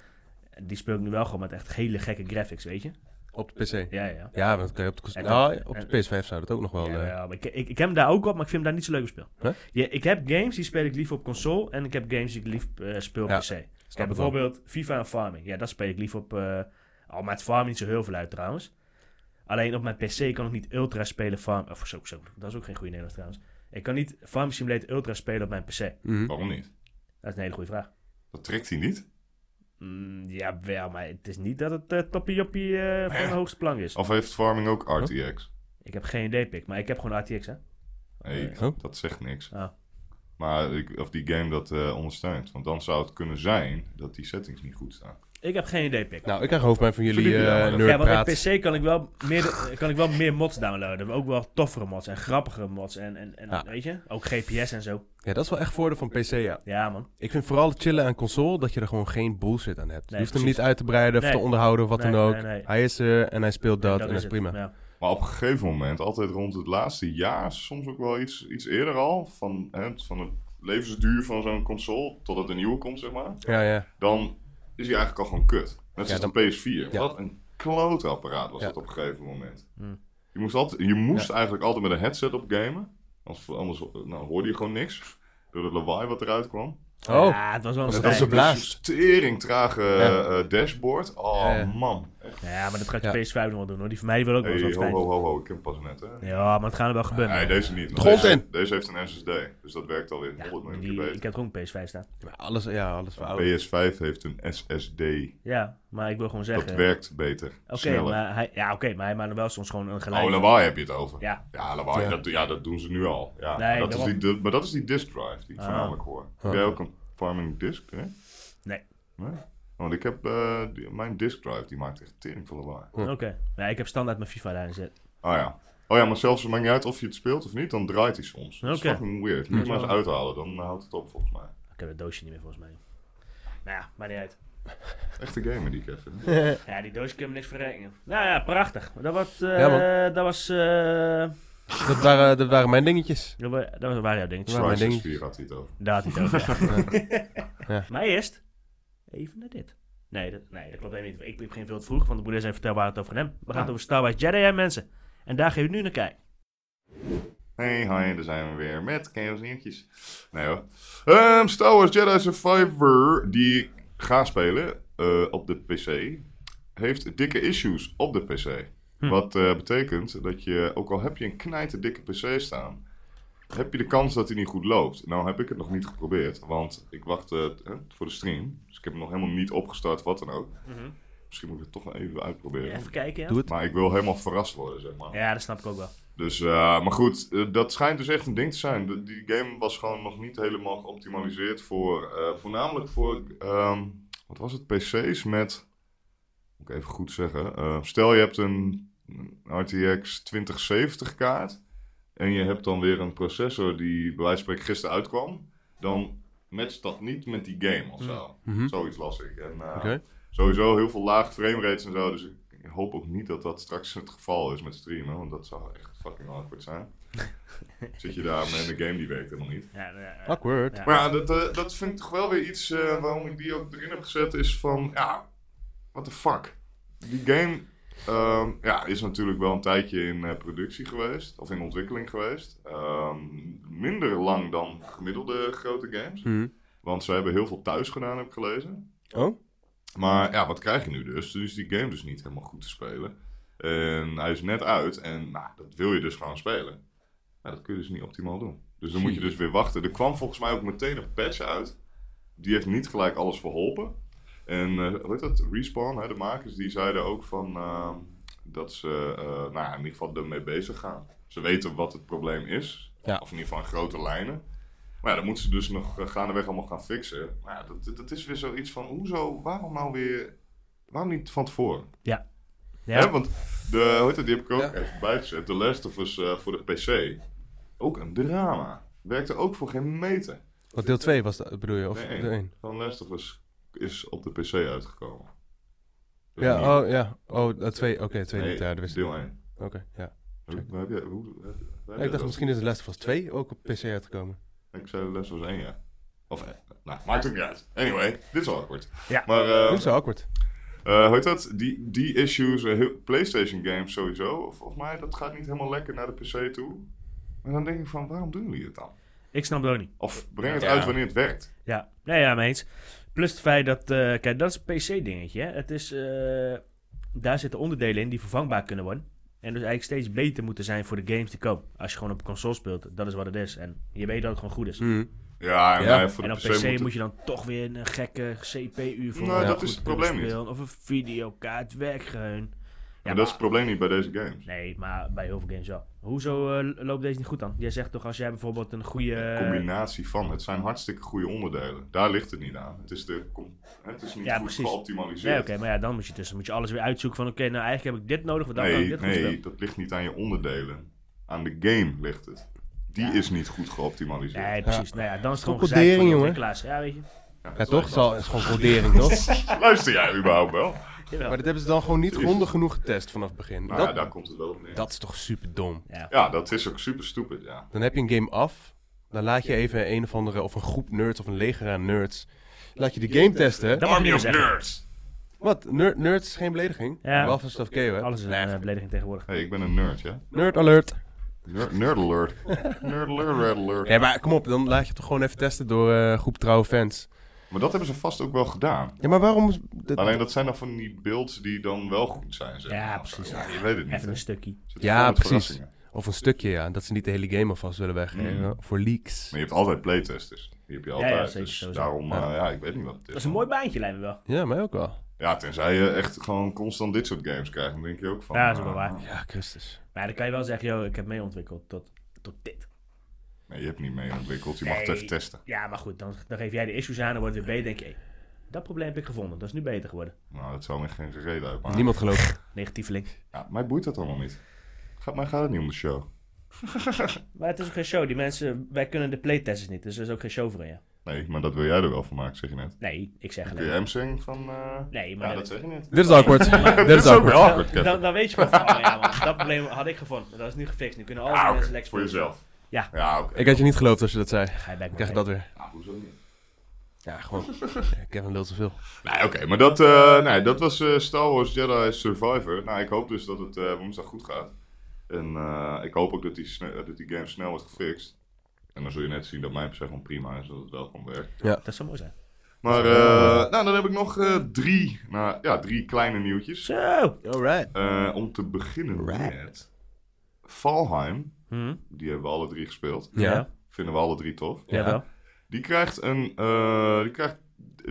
Speaker 1: Die speel ik nu wel gewoon met echt hele gekke graphics, weet je?
Speaker 3: Op de PC.
Speaker 1: Ja, ja, ja.
Speaker 3: Ja, want kan je op de, cons-
Speaker 1: En-
Speaker 3: nou, op
Speaker 1: en-
Speaker 3: de PS5 zou dat ook nog wel.
Speaker 1: Ja,
Speaker 3: eh,
Speaker 1: ja, maar ik, ik, ik heb hem daar ook op, maar ik vind hem daar niet zo leuk op speel.
Speaker 3: Huh?
Speaker 1: Ja, ik heb games die speel ik liever op console en ik heb games die ik lief eh, speel op
Speaker 3: Ja,
Speaker 1: PC. Ik
Speaker 3: het wel.
Speaker 1: heb bijvoorbeeld FIFA en Farming. Ja, dat speel ik liever op... eh al maakt Farming niet zo heel veel uit trouwens. Alleen op mijn PC kan ik niet Ultra spelen Farm... Of zo, zo, dat is ook geen goede Nederlands trouwens. Ik kan niet Farming Simulator Ultra spelen op mijn PC.
Speaker 3: mhm.
Speaker 2: Waarom niet?
Speaker 1: Dat is een hele goede vraag.
Speaker 2: Dat trekt hij niet.
Speaker 1: Mm, ja, wel, maar het is niet dat het eh toppie joppie eh, van de hoogste plank is.
Speaker 2: Of heeft farming ook RTX?
Speaker 1: Ik heb geen idee, pik, maar ik heb gewoon RTX, hè?
Speaker 2: Hey,
Speaker 3: Oh.
Speaker 2: Dat zegt niks.
Speaker 1: Ah.
Speaker 2: Maar ik, of die game dat eh, ondersteunt. Want dan zou het kunnen zijn dat die settings niet goed staan.
Speaker 1: Ik heb geen idee, Pik.
Speaker 3: Nou, ik krijg hoofdpijn van jullie
Speaker 2: Verdiep je daar
Speaker 3: eh
Speaker 2: maar.
Speaker 1: ja, want op
Speaker 3: nerdpraat.
Speaker 1: PC kan ik, wel meer, kan ik wel meer mods downloaden. Ook wel toffere mods en grappigere mods. En, en, en
Speaker 3: Ja.
Speaker 1: weet je, ook GPS en zo.
Speaker 3: Ja, dat is wel echt voordeel van PC, ja.
Speaker 1: Ja, man.
Speaker 3: Ik vind vooral het chillen aan console dat je er gewoon geen bullshit aan hebt.
Speaker 1: Nee,
Speaker 3: je hoeft hem
Speaker 1: precies.
Speaker 3: niet uit te breiden of
Speaker 1: Nee.
Speaker 3: te onderhouden of wat
Speaker 1: Nee,
Speaker 3: dan ook.
Speaker 1: nee, nee.
Speaker 3: Hij is er en hij speelt dat,
Speaker 1: Dat
Speaker 3: en dat is
Speaker 1: het.
Speaker 3: prima.
Speaker 1: Ja.
Speaker 2: Maar op een gegeven moment, altijd rond het laatste jaar, soms ook wel iets, iets eerder al, van, hè, het- van de levensduur van zo'n console totdat een nieuwe komt, zeg maar.
Speaker 3: Ja, ja.
Speaker 2: Dan is hij eigenlijk al gewoon kut. Net
Speaker 3: Ja,
Speaker 2: zoals
Speaker 3: dan-
Speaker 2: de PS4.
Speaker 3: Ja.
Speaker 2: Wat een klootapparaat was
Speaker 3: Ja.
Speaker 2: dat op een gegeven moment.
Speaker 1: Hmm.
Speaker 2: Je moest, altijd, je moest eigenlijk altijd met een headset op gamen. Anders, anders nou, hoorde je gewoon niks. Door het lawaai wat eruit kwam.
Speaker 3: Oh,
Speaker 1: Ja, het was wel een
Speaker 3: Dat
Speaker 1: strijd.
Speaker 3: was een blaas.
Speaker 2: Tering trage
Speaker 3: Ja.
Speaker 2: eh, eh, dashboard. Oh
Speaker 3: Ja, ja.
Speaker 2: man.
Speaker 1: Ja, maar dat gaat
Speaker 3: Ja.
Speaker 1: je PS5 nog wel doen hoor. Die van mij wil ook wel
Speaker 2: Hey,
Speaker 1: eens
Speaker 2: ho,
Speaker 1: afstijgen.
Speaker 2: ho, ho, ho. Ik ken pas net, hè.
Speaker 1: Ja, maar het gaat er wel gebeuren.
Speaker 2: Nee, deze niet.
Speaker 3: grond
Speaker 2: Deze,
Speaker 3: in.
Speaker 2: deze heeft een SSD, dus dat werkt alweer
Speaker 1: Ja,
Speaker 2: 100 miljoen
Speaker 1: die-
Speaker 2: keer beter.
Speaker 1: ik heb er ook een PS5 staan.
Speaker 3: maar alles, ja, alles voor oud.
Speaker 2: PS5 heeft een SSD.
Speaker 1: Ja, maar ik wil gewoon
Speaker 2: Dat
Speaker 1: zeggen...
Speaker 2: werkt beter.
Speaker 1: Oké,
Speaker 2: sneller.
Speaker 1: maar hij, ja, oké, maar hij maakt er wel soms gewoon een
Speaker 2: Oh,
Speaker 1: geluid.
Speaker 2: lawaai heb je het over.
Speaker 1: Ja.
Speaker 2: lawaai.
Speaker 3: Ja.
Speaker 2: Dat, ja, dat doen ze nu al. Ja,
Speaker 1: Nee,
Speaker 2: maar, dat is
Speaker 1: daarom.
Speaker 2: die, di- maar dat is die disk drive die ik
Speaker 1: Ah.
Speaker 2: voornamelijk hoor. Heb
Speaker 3: Ah.
Speaker 2: jij ook een farming disk? Hè?
Speaker 1: Nee.
Speaker 2: Nee? Want ik heb eh, die- mijn disk drive, die maakt echt tering van lawaai.
Speaker 1: Oké, ja, ik heb standaard mijn FIFA daarin zitten.
Speaker 2: Oh ja. Oh ja, maar zelfs het maakt niet uit of je het speelt of niet, dan draait hij soms. Dat is
Speaker 1: Oké.
Speaker 2: fucking weird. Moet je maar eens
Speaker 1: Ja.
Speaker 2: uithalen, dan houdt het op volgens mij.
Speaker 1: Ik heb het doosje niet meer volgens mij. Nou ja, maakt niet uit.
Speaker 2: Echte gamer die ik heb.
Speaker 1: Ja, die doosje kunnen we niks verrekenen. Nou ja, prachtig. Dat was... eh,
Speaker 3: Ja,
Speaker 1: dat was... eh,
Speaker 3: Dat waren, dat waren mijn dingetjes.
Speaker 1: dat wa- dat waren jouw dingetjes.
Speaker 3: Ja, maar
Speaker 2: Crysis
Speaker 3: ding-
Speaker 2: 4 had hij het over.
Speaker 1: Daar had hij het over, <laughs> ja.
Speaker 3: Ja.
Speaker 1: Maar eerst... Even naar dit. Nee, dat, nee, dat klopt helemaal niet. Ik begin veel te vroeg, want de broeder even vertel waar het over hem. We gaan het over Star Wars Jedi hebben, mensen. En daar gaan we nu naar kijken.
Speaker 2: Hey, hoi, daar zijn we weer met Chaos Nieuwtjes. Nee hoor. Ehm, Star Wars Jedi Survivor, die ik ga spelen eh, op de PC, heeft dikke issues op de PC.
Speaker 1: Hm.
Speaker 2: Wat eh, betekent dat je, ook al heb je een knijter dikke PC staan, heb je de kans dat hij niet goed loopt. Nou heb ik het nog niet geprobeerd, want ik wacht eh, t- eh, voor de stream. Dus ik heb hem nog helemaal niet opgestart, wat dan ook.
Speaker 1: Mhm.
Speaker 2: Misschien moet ik het toch wel even uitproberen.
Speaker 1: Even kijken, ja.
Speaker 3: Doe het.
Speaker 2: Maar ik wil helemaal verrast worden, zeg maar.
Speaker 1: Ja, dat snap ik ook wel.
Speaker 2: Dus, eh, maar goed, eh, dat schijnt dus echt een ding te zijn. De- die game was gewoon nog niet helemaal geoptimaliseerd voor, eh, voornamelijk voor, ehm, wat was het, PC's met, moet ik even goed zeggen, eh, stel je hebt een RTX 2070 kaart en je hebt dan weer een processor die bij wijze van spreken gisteren uitkwam, dan matcht dat niet met die game of zo.
Speaker 3: Mhm.
Speaker 2: Zoiets las ik. En, eh,
Speaker 3: Oké.
Speaker 2: Sowieso heel veel laag frame rates en zo. Dus ik hoop ook niet dat dat straks het geval is met streamen. Want dat zou echt fucking awkward zijn. Zit je daar met een game die werkt helemaal niet.
Speaker 1: Ja, eh, eh,
Speaker 3: Awkward.
Speaker 1: ja.
Speaker 2: Maar ja, dat, eh, dat vind ik toch wel weer iets eh, waarom ik die ook erin heb gezet. Is van, ja, what the fuck. Die game ehm, ja, is natuurlijk wel een tijdje in eh, productie geweest. Of in ontwikkeling geweest. Ehm, minder lang dan gemiddelde grote games.
Speaker 3: Mhm.
Speaker 2: Want ze hebben heel veel thuis gedaan, heb ik gelezen.
Speaker 3: Oh?
Speaker 2: Maar ja, wat krijg je nu dus? Dus die game dus niet helemaal goed te spelen. En hij is net uit en nou, dat wil je dus gewoon spelen. Nou, dat kun je dus niet optimaal doen. Dus dan moet je dus weer wachten. Er kwam volgens mij ook meteen een patch uit. Die heeft niet gelijk alles verholpen. En eh, hoe heet dat? Respawn, hè, de makers, die zeiden ook van ehm, dat ze eh, nou, ja, in ieder geval ermee bezig gaan. Ze weten wat het probleem is.
Speaker 3: Ja.
Speaker 2: Of in ieder geval in grote lijnen. Maar ja, dat moeten ze dus nog eh, gaandeweg allemaal gaan fixen. Maar ja, dat, dat is weer zoiets van, hoezo, waarom nou weer, waarom niet van tevoren?
Speaker 1: Ja.
Speaker 2: Hè, want de, hoe heet het, die heb ik ook
Speaker 3: Ja.
Speaker 2: even bijgezet. The Last of Us eh, voor de PC. Ook een drama. Werkte ook voor geen meter.
Speaker 3: Wat deel 2 was dat, bedoel je? Of
Speaker 2: Nee,
Speaker 3: deel 1?
Speaker 2: Van Last of Us is op de PC uitgekomen. Dus niet-
Speaker 3: Ja, oh, ja. Oh, dat 2. Oké, 2
Speaker 2: nee,
Speaker 3: niet. Ja, dat wist ik.
Speaker 2: deel 1.
Speaker 3: Oké, ja.
Speaker 2: Heb, heb je, hoe, heb- heb jij
Speaker 3: ik
Speaker 2: dat
Speaker 3: dacht misschien is The Last of Us 2 ook op PC uitgekomen.
Speaker 2: Ik zei The Last of Us 1, ja. Of, eh, nou, maakt ook niet uit. Anyway, dit is al awkward.
Speaker 1: Ja.
Speaker 2: Maar, eh,
Speaker 3: Dit is wel awkward.
Speaker 2: Eh, hoe heet dat? Die, die issues, eh, heel- PlayStation games sowieso, volgens mij, dat gaat niet helemaal lekker naar de PC toe. Maar dan denk ik van, waarom doen jullie het dan?
Speaker 1: Ik snap het ook niet.
Speaker 2: Of breng het
Speaker 3: Ja.
Speaker 2: uit wanneer het werkt.
Speaker 1: Ja, nee, ja, mee eens. Plus het feit dat, eh, kijk, dat is een PC-dingetje. hè. Het is, eh, daar zitten onderdelen in die vervangbaar kunnen worden. En dus eigenlijk steeds beter moeten zijn voor de games die komen. Als je gewoon op een console speelt, dat is wat het is. En je weet dat het gewoon goed is.
Speaker 3: Mhm.
Speaker 2: Ja, en
Speaker 3: Ja.
Speaker 2: wij voor
Speaker 1: en
Speaker 2: de
Speaker 1: op
Speaker 2: PC,
Speaker 1: PC, moet,
Speaker 2: moeten-
Speaker 1: je dan toch weer een gekke CPU voor
Speaker 2: Nou,
Speaker 1: een
Speaker 2: dat
Speaker 1: goed
Speaker 2: is het
Speaker 1: spel
Speaker 2: probleem niet.
Speaker 1: spelen. Of een videokaart, werk gewoon.
Speaker 2: maar dat is het probleem niet bij deze games.
Speaker 1: Nee, maar bij heel veel games wel. Hoezo eh, loopt deze niet goed dan? Jij zegt toch als jij bijvoorbeeld een goede...
Speaker 2: combinatie van. Het zijn hartstikke goede onderdelen. Daar ligt het niet aan. Het is, de, com- het is niet
Speaker 1: Ja,
Speaker 2: goed
Speaker 1: precies. Nee,
Speaker 2: geoptimaliseerd.
Speaker 1: oké, maar ja, dan moet je, dus, dan moet je alles weer uitzoeken van... Oké, nou eigenlijk heb ik dit nodig, want dan kan ik
Speaker 2: nee,
Speaker 1: dit goed
Speaker 2: nee,
Speaker 1: spelen.
Speaker 2: dat ligt niet aan je onderdelen. Aan de game ligt het. Die is niet goed geoptimaliseerd.
Speaker 1: Nee, precies. Nou ja, dan is het gewoon
Speaker 3: Toch
Speaker 1: gezeik van
Speaker 3: codering,
Speaker 1: de
Speaker 3: jongen.
Speaker 1: ontwikkelaars. Ja, weet je.
Speaker 2: Ja,
Speaker 3: Ja, toch? Het is al- het is gewoon codering, toch?
Speaker 2: <laughs> Luister jij überhaupt wel?
Speaker 1: Jawel.
Speaker 3: Maar dat hebben ze dan gewoon niet
Speaker 2: Precies.
Speaker 3: grondig genoeg getest vanaf het begin.
Speaker 2: Nou ja,
Speaker 3: dat,
Speaker 2: daar komt het wel op neer.
Speaker 3: dat is toch super dom.
Speaker 1: Ja.
Speaker 2: Ja, dat is ook super stupid, ja.
Speaker 3: Dan heb je een game af. Dan laat je even een of andere, of een groep nerds of een leger aan nerds. Laat je de game testen. hè?
Speaker 1: Dat mag ik niet meer zeggen.
Speaker 2: nerds!
Speaker 3: Wat? Ner- nerds is geen belediging?
Speaker 1: Ja.
Speaker 3: Wel van stuff gay, hè?
Speaker 1: Alles is een eh, belediging tegenwoordig.
Speaker 2: Hey, ik ben een nerd, ja?
Speaker 3: Nerd alert.
Speaker 2: Nerd, nerd alert.
Speaker 1: <laughs>
Speaker 2: Nerd alert, red alert.
Speaker 3: Ja, maar kom op, dan laat je het toch gewoon even testen door eh, een groep trouwe fans.
Speaker 2: Maar dat hebben ze vast ook wel gedaan.
Speaker 3: Ja, maar waarom... dat-
Speaker 2: Alleen dat zijn dan van die beelds die dan wel goed zijn, zeg
Speaker 1: Ja,
Speaker 2: maar.
Speaker 1: precies.
Speaker 2: Ja, je weet het niet.
Speaker 1: Even
Speaker 2: hè.
Speaker 1: een stukje.
Speaker 2: Zit
Speaker 3: Ja,
Speaker 2: vol met
Speaker 3: precies.
Speaker 2: verrassingen.
Speaker 3: Of een stukje, ja. Dat ze niet de hele game alvast willen weggeven.
Speaker 2: Mm.
Speaker 3: Voor leaks.
Speaker 2: Maar je hebt altijd playtesters. Die heb je altijd.
Speaker 1: ja, zeker,
Speaker 2: dus
Speaker 1: sowieso.
Speaker 2: daarom,
Speaker 3: Ja.
Speaker 2: eh, ja, ik weet niet wat het is.
Speaker 1: Dat is een mooi baantje, lijkt me wel.
Speaker 3: Ja, mij ook wel.
Speaker 2: Ja, tenzij je echt gewoon constant dit soort games krijgt, dan denk je ook van...
Speaker 1: Ja, dat is ook
Speaker 2: eh,
Speaker 1: wel waar.
Speaker 3: Ja, Christus.
Speaker 1: Maar dan kan je wel zeggen, joh, ik heb mee ontwikkeld tot, tot dit.
Speaker 2: Nee, je hebt niet mee ontwikkeld. Je mag het
Speaker 1: Nee.
Speaker 2: even testen.
Speaker 1: Ja, maar goed, dan, dan geef jij de issues aan, dan wordt het weer beter. denk je, hé, dat probleem heb ik gevonden, dat is nu beter geworden.
Speaker 2: Nou, dat zou me geen reden uitmaken.
Speaker 3: Niemand gelooft.
Speaker 1: Negatief link.
Speaker 2: Ja, mij boeit dat allemaal niet. Gaat, mij gaat het niet om de show.
Speaker 1: Maar het is ook geen show, die mensen, wij kunnen de playtesters niet, dus er is ook geen show voor je.
Speaker 2: Nee, maar dat wil jij er wel van maken, zeg je net.
Speaker 1: Nee, ik zeg
Speaker 2: Kun
Speaker 1: alleen.
Speaker 2: je hem zingen van... eh,
Speaker 1: Nee, maar
Speaker 2: Ja,
Speaker 1: dat- Oh,
Speaker 2: dat zeg je net.
Speaker 3: Dit is awkward. Dit is
Speaker 2: ook
Speaker 3: awkward.
Speaker 2: wel awkward, Kevin.
Speaker 1: Dan, dan weet je gewoon, van, oh ja man, dat probleem had ik gevonden. Dat is nu gefixt, nu kunnen al die
Speaker 2: Ah, oké,
Speaker 1: mensen lekker
Speaker 2: voor jezelf.
Speaker 1: Ja.
Speaker 2: Ja, oké.
Speaker 3: Ik had je niet geloofd als je dat zei.
Speaker 1: Ga je bij
Speaker 3: Dan krijg je dat weer.
Speaker 2: Ah, hoezo niet?
Speaker 3: Ja, gewoon. <laughs> Kevin lult zoveel.
Speaker 2: Nee, oké, maar dat, eh, nee, dat was eh, Star Wars Jedi Survivor. Nou, ik hoop dus dat het eh, woensdag goed gaat. En eh, ik hoop ook dat die, sne- eh, dat die game snel wordt gefixt. En dan zul je net zien dat mijn PC gewoon prima is, dat het wel gewoon werkt.
Speaker 1: Dat zou mooi zijn.
Speaker 2: Maar eh, nou, dan heb ik nog eh, drie, nou, ja, drie kleine nieuwtjes.
Speaker 1: Zo!
Speaker 3: Alright.
Speaker 2: Eh, om te beginnen met Valheim.
Speaker 1: Hm?
Speaker 2: Die hebben we alle drie gespeeld.
Speaker 3: Ja.
Speaker 2: Vinden we alle drie tof.
Speaker 1: Ja, wel.
Speaker 2: Die krijgt een, eh, die krijgt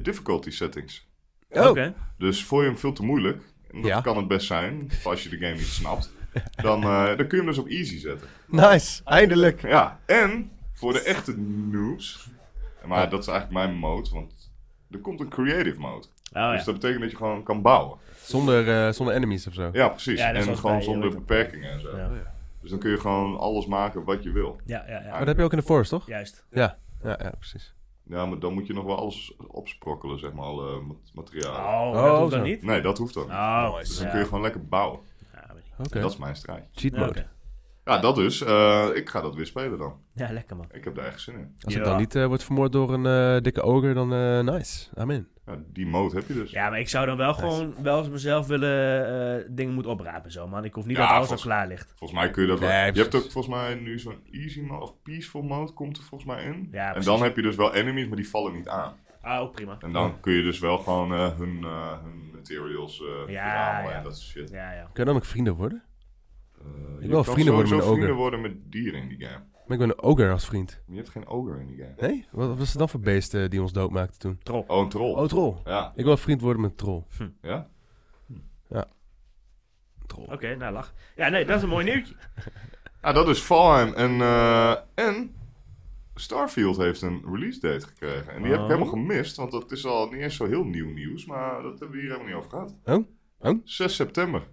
Speaker 2: difficulty settings.
Speaker 3: Oh.
Speaker 1: Oké.
Speaker 2: Dus vond je hem veel te moeilijk, en dat
Speaker 3: Ja.
Speaker 2: kan het best
Speaker 3: <laughs>
Speaker 2: zijn, of als je de game niet snapt, dan, eh, dan kun je hem dus op easy zetten.
Speaker 3: Nice. Eindelijk.
Speaker 2: Ja, en voor de echte noobs, maar dat is eigenlijk mijn mode, want er komt een creative mode.
Speaker 1: Oh
Speaker 2: Dus
Speaker 1: ja.
Speaker 2: dat betekent dat je gewoon kan bouwen.
Speaker 3: Zonder, eh, zonder enemies of zo.
Speaker 2: Ja, precies.
Speaker 1: Ja, dat is
Speaker 2: en
Speaker 1: zoals
Speaker 2: gewoon
Speaker 1: bij-
Speaker 2: zonder
Speaker 1: je weet
Speaker 2: beperkingen en zo.
Speaker 1: Ja,
Speaker 2: Dus dan kun je gewoon alles maken wat je wil.
Speaker 1: ja, ja. ja.
Speaker 3: Maar dat heb je ook in de Forest, toch?
Speaker 1: Juist.
Speaker 3: Ja. Ja, ja, precies.
Speaker 2: Ja, maar dan moet je nog wel alles opsprokkelen, zeg maar, alle mat- materialen.
Speaker 1: Oh, dat
Speaker 3: Oh,
Speaker 1: hoeft dan
Speaker 3: zo.
Speaker 1: niet?
Speaker 2: Nee, dat hoeft dan. niet.
Speaker 1: Oh,
Speaker 2: Dus
Speaker 1: ja.
Speaker 2: dan kun je gewoon lekker bouwen.
Speaker 1: Ja, weet ik.
Speaker 3: Oké.
Speaker 2: Dat is mijn strijd.
Speaker 3: Cheat
Speaker 1: Ja,
Speaker 3: mode.
Speaker 1: oké.
Speaker 2: Ja, dat dus. Eh, ik ga dat weer spelen dan.
Speaker 1: Ja, lekker man.
Speaker 2: Ik heb daar echt zin in.
Speaker 3: Als ik
Speaker 1: Ja.
Speaker 3: dan niet eh, wordt vermoord door een eh, dikke ogre, dan eh, nice. Amen.
Speaker 2: Ja, die mode heb je dus.
Speaker 1: Ja, maar ik zou dan wel gewoon wel eens mezelf willen eh, dingen moeten oprapen zo, man. Ik hoef niet
Speaker 2: Ja,
Speaker 1: dat alles al
Speaker 2: volgens-
Speaker 1: klaar ligt.
Speaker 2: Volgens mij kun je dat wel.
Speaker 3: Nee,
Speaker 2: je
Speaker 3: precies.
Speaker 2: hebt ook volgens mij nu zo'n easy mode of peaceful mode komt er volgens mij in.
Speaker 1: Ja,
Speaker 2: en
Speaker 1: precies.
Speaker 2: dan heb je dus wel enemies, maar die vallen niet aan.
Speaker 1: Ah, ook prima.
Speaker 2: En dan kun je dus wel gewoon eh, hun, eh, hun materials eh verzamelen
Speaker 1: ja.
Speaker 2: en dat soort shit.
Speaker 1: Ja, ja.
Speaker 3: Kun je dan ook vrienden worden?
Speaker 2: Eh,
Speaker 3: wil
Speaker 2: je kan
Speaker 3: vrienden worden
Speaker 2: sowieso
Speaker 3: met een
Speaker 2: vrienden
Speaker 3: ogre.
Speaker 2: worden met dieren in die game.
Speaker 3: Maar ik ben een ogre als vriend.
Speaker 2: Maar je hebt geen ogre in die game.
Speaker 3: Nee? Wat was het dan voor beest eh, die ons doodmaakte toen?
Speaker 1: Trop.
Speaker 2: Oh, een troll.
Speaker 3: Oh, troll.
Speaker 2: Ja,
Speaker 3: Ik wil vriend worden met een troll.
Speaker 2: ja.
Speaker 3: Troll.
Speaker 1: Oké, nou lach. Ja, nee, dat is een mooi nieuwtje.
Speaker 2: Ah, dat is Valheim. En, eh, en Starfield heeft een release date gekregen. En die heb ik
Speaker 1: Oh.
Speaker 2: helemaal gemist, want dat is al niet eens zo heel nieuw nieuws. Maar dat hebben we hier helemaal niet over gehad.
Speaker 3: Oh? Oh?
Speaker 2: 6 september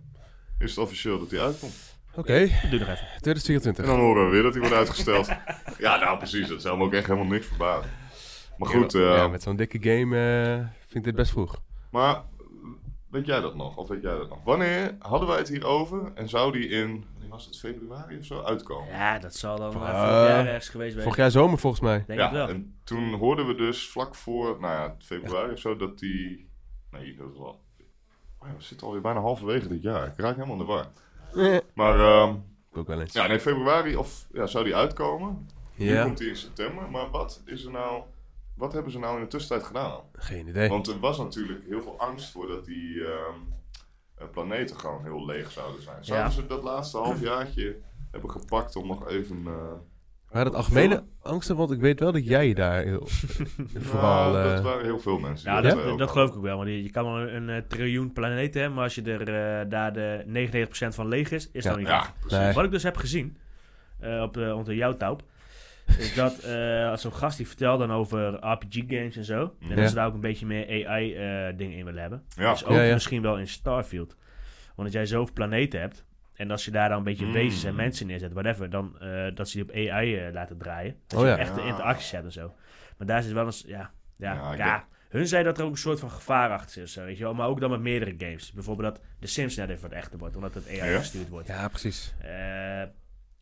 Speaker 2: is het officieel dat die uitkomt.
Speaker 3: Oké.
Speaker 1: <laughs> Doe nog even.
Speaker 3: 2024.
Speaker 2: En dan horen we weer dat die wordt uitgesteld. ja, nou precies. Dat zou me ook echt helemaal niks verbazen. Maar goed, eh,
Speaker 3: ja, met zo'n dikke game eh, vind ik dit best vroeg.
Speaker 2: maar weet jij dat nog? Of weet jij dat nog? Wanneer hadden wij het hierover en zou die in, wanneer was het, februari of zo, uitkomen?
Speaker 1: Ja, dat zal dan eh,
Speaker 3: Eh,
Speaker 1: vorig jaar ergens geweest zijn.
Speaker 3: Vorig jaar zomer volgens mij.
Speaker 1: Denk
Speaker 2: Ja,
Speaker 1: het wel.
Speaker 2: en toen hoorden we dus vlak voor, nou ja, februari of zo, dat die... Nee, dat is wel... Oh ja, we zitten alweer bijna halverwege dit jaar. Ik raak helemaal in de war.
Speaker 3: Eh,
Speaker 2: Maar ehm,
Speaker 3: Ook wel eens.
Speaker 2: ja, nee, februari of, ja, zou die uitkomen. Nu
Speaker 3: Ja,
Speaker 2: komt die in september. Maar wat is er nou... Wat hebben ze nou in de tussentijd gedaan?
Speaker 3: geen idee.
Speaker 2: Want er was natuurlijk heel veel angst voor dat die ehm, eh, planeten gewoon heel leeg zouden zijn. Zouden
Speaker 1: Ja.
Speaker 2: ze dat laatste halfjaartje hebben gepakt om nog even... eh,
Speaker 3: Waren dat algemene angsten? Want ik weet wel dat jij je daar
Speaker 2: <laughs>
Speaker 3: heel, eh, vooral...
Speaker 2: Nou, dat
Speaker 3: eh,
Speaker 2: waren heel veel mensen.
Speaker 1: Ja, Nou,
Speaker 2: die
Speaker 1: dat,
Speaker 2: hadden
Speaker 1: dat
Speaker 2: ook
Speaker 1: geloof ik ook wel. Want je, je kan wel een, eh, triljoen planeten hebben, maar als je er eh, daar de 99% van leeg is, is
Speaker 3: Ja.
Speaker 1: dat niet
Speaker 2: al. Ja,
Speaker 1: leeg.
Speaker 2: precies.
Speaker 3: Nee.
Speaker 1: Wat ik dus heb gezien eh, op de, onder jouw touw, <laughs> is dat eh, als zo'n gast die vertelt dan over RPG-games en zo, en
Speaker 2: Ja.
Speaker 1: dat ze daar ook een beetje meer AI-dingen in willen hebben.
Speaker 2: Ja.
Speaker 1: Dus ook
Speaker 3: Ja, ja.
Speaker 1: misschien wel in Starfield. Want als jij zoveel planeten hebt, en als je daar dan een beetje
Speaker 2: Mm.
Speaker 1: wezens en mensen neerzet, whatever, dan eh, dat ze die op AI eh, laten draaien. Dat
Speaker 3: Oh
Speaker 1: je
Speaker 3: ja.
Speaker 1: echte
Speaker 2: Ja.
Speaker 1: interacties hebt en zo. Maar daar zit wel eens, ja, ja,
Speaker 2: Ja,
Speaker 1: ja,
Speaker 2: ik
Speaker 1: Hun zei dat er ook een soort van gevaar achter zit, of zo, weet je wel. Maar ook dan met meerdere games. Bijvoorbeeld dat de Sims net even wat echter wordt, omdat het AI
Speaker 2: Ja.
Speaker 1: gestuurd wordt.
Speaker 3: ja, precies.
Speaker 1: Eh,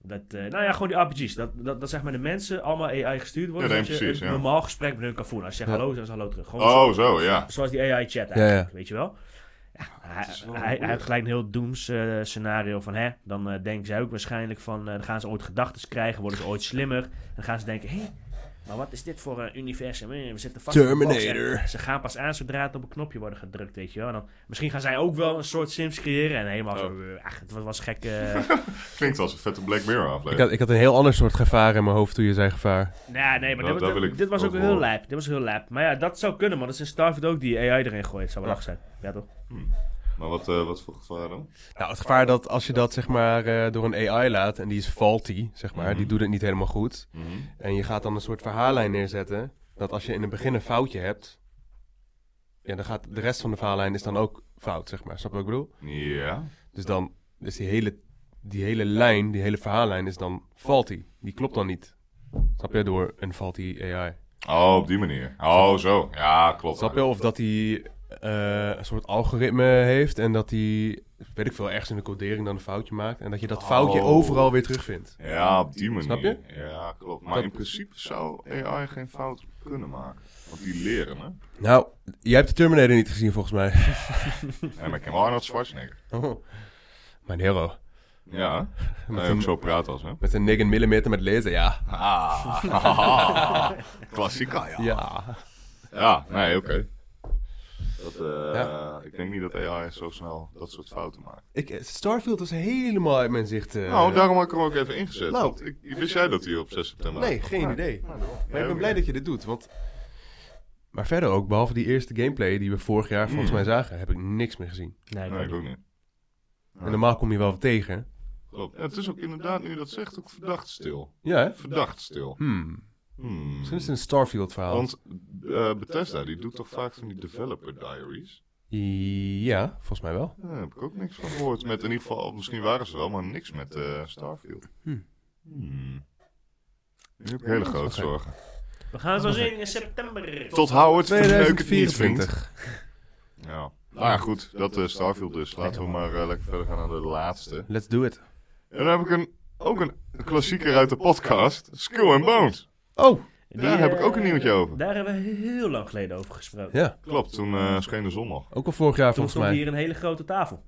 Speaker 1: dat, eh, nou ja, gewoon die RPG's. Dat, dat, dat zeg maar de mensen allemaal AI gestuurd worden.
Speaker 2: Ja, nee,
Speaker 1: zodat je
Speaker 2: precies,
Speaker 1: een
Speaker 2: ja.
Speaker 1: normaal gesprek met hun kan voeren. Als je zegt
Speaker 3: Ja.
Speaker 1: hallo, dan is hallo terug. Gewoon
Speaker 2: Oh, zo, ja.
Speaker 1: zo- zoals die AI-chat
Speaker 3: Ja,
Speaker 1: eigenlijk,
Speaker 3: ja.
Speaker 1: weet je wel. Ja, hij,
Speaker 2: dat is wel
Speaker 1: hij, hij
Speaker 2: moeilijk.
Speaker 1: heeft gelijk een heel dooms eh, scenario van hè. Dan eh, denken zij ook waarschijnlijk van. eh, dan gaan ze ooit gedachten krijgen, worden ze ooit slimmer. En dan gaan ze denken: hé, maar wat is dit voor een universum? Eh, We zitten vast in een box.
Speaker 3: Terminator.
Speaker 1: En Ze gaan pas aan zodra het op een knopje worden gedrukt, weet je wel. En dan, misschien gaan zij ook wel een soort Sims creëren. En helemaal zo.
Speaker 2: Oh.
Speaker 1: eh, Ach, het was, was gek.
Speaker 2: <laughs>
Speaker 1: eh,
Speaker 2: Klinkt als een vette Black Mirror
Speaker 3: Ik
Speaker 2: aflevering.
Speaker 3: had, ik had een heel ander soort gevaar in mijn hoofd toen je zei gevaar.
Speaker 1: Nee, nee, maar
Speaker 2: Dat-
Speaker 1: dit,
Speaker 2: dat
Speaker 1: dit-
Speaker 2: wil ik
Speaker 1: dit was
Speaker 2: ook
Speaker 1: ook heel
Speaker 2: horen.
Speaker 1: lap. Dit was heel lap. Maar ja, dat zou kunnen, want dat is in Starfield ook die AI erin gooit. Zou wel
Speaker 3: Ja.
Speaker 1: lach zijn. Ja, toch?
Speaker 2: Maar wat, eh, wat voor gevaar dan?
Speaker 3: Nou, het gevaar dat als je dat zeg maar eh, door een AI laat en die is faulty, zeg maar, die
Speaker 2: Mhm.
Speaker 3: doet het niet helemaal goed.
Speaker 2: Mhm.
Speaker 3: En je gaat dan een soort verhaallijn neerzetten, dat als je in het begin een foutje hebt, ja, dan gaat de rest van de verhaallijn is dan ook fout, zeg maar. Snap je wat ik bedoel?
Speaker 2: Ja.
Speaker 3: Dus dan is die hele, die hele lijn, die hele verhaallijn is dan faulty. Die klopt dan niet. Snap je? Door een faulty AI.
Speaker 2: Oh, op die manier. Oh, zo. Ja, klopt.
Speaker 3: Snap je? Of dat hij eh, een soort algoritme heeft en dat hij, weet ik veel, ergens in de codering dan een foutje maakt. En dat je dat foutje
Speaker 2: Oh.
Speaker 3: overal weer terugvindt.
Speaker 2: Ja, op die manier.
Speaker 3: Snap je?
Speaker 2: Ja, klopt. Maar
Speaker 3: Dat-
Speaker 2: in principe zou AI geen fout kunnen maken. Want die leren, hè?
Speaker 3: Nou, jij hebt de Terminator niet gezien volgens mij.
Speaker 2: En ik ken wel Arnold Schwarzenegger.
Speaker 3: <laughs> Mijn hero.
Speaker 2: Ja,
Speaker 3: <laughs> Met,
Speaker 2: hij ook
Speaker 3: een,
Speaker 2: zo praat als, hè?
Speaker 3: met een 9 mm met laser, ja.
Speaker 2: <laughs> Ah, klassica, ja.
Speaker 3: Ja.
Speaker 2: Ja, nee, oké. Dat, eh,
Speaker 3: Ja.
Speaker 2: Ik denk niet dat AI zo snel dat soort fouten maakt.
Speaker 3: Ik, eh, Starfield was helemaal uit mijn zicht. eh.
Speaker 2: nou, daarom had ik hem ook even ingezet.
Speaker 3: Nou.
Speaker 2: want ik, wist jij dat hij op 6 september
Speaker 3: Nee, geen idee. Maar ik ben
Speaker 2: oké.
Speaker 3: blij dat je dit doet, want... Maar verder ook, behalve die eerste gameplay die we vorig jaar volgens
Speaker 2: Mm.
Speaker 3: mij zagen, heb ik niks meer gezien.
Speaker 1: Nee,
Speaker 2: Nee,
Speaker 1: nee,
Speaker 2: ik ook niet.
Speaker 3: En normaal kom je wel wat tegen.
Speaker 2: Klopt. Ja, het is ook inderdaad, nu je dat zegt, ook verdacht stil.
Speaker 3: Ja, hè?
Speaker 2: Verdacht stil.
Speaker 3: Hmm.
Speaker 2: Hmm.
Speaker 3: Misschien is het een Starfield
Speaker 1: Oh.
Speaker 3: verhaal.
Speaker 2: Want eh, Bethesda, die doet toch vaak van die developer diaries?
Speaker 3: Ja, volgens mij wel.
Speaker 2: Daar heb ik ook niks van gehoord. Met in ieder geval, misschien waren ze wel, maar niks met eh, Starfield.
Speaker 3: Hm.
Speaker 2: Hmm. Nu heb ik hele grote
Speaker 3: Oké.
Speaker 2: zorgen.
Speaker 1: We gaan het wel zien in september.
Speaker 2: Tot Howard verneuk het niet, vriend.
Speaker 3: 2024.
Speaker 2: Ja. Nou ja, goed. Dat eh, Starfield dus. Laten we maar eh, lekker verder gaan naar de laatste.
Speaker 3: Let's do it.
Speaker 2: En dan heb ik een, ook een klassieker uit de podcast. Skull and Bones.
Speaker 3: Oh!
Speaker 1: Die,
Speaker 2: Daar heb ik
Speaker 1: eh,
Speaker 2: ook een nieuwtje over.
Speaker 1: Daar hebben we heel lang geleden over gesproken.
Speaker 3: Ja,
Speaker 2: Klopt, toen eh, scheen de zon nog.
Speaker 3: ook al vorig jaar
Speaker 1: Toen
Speaker 3: volgens
Speaker 1: stond
Speaker 3: mij.
Speaker 1: hier een hele grote tafel.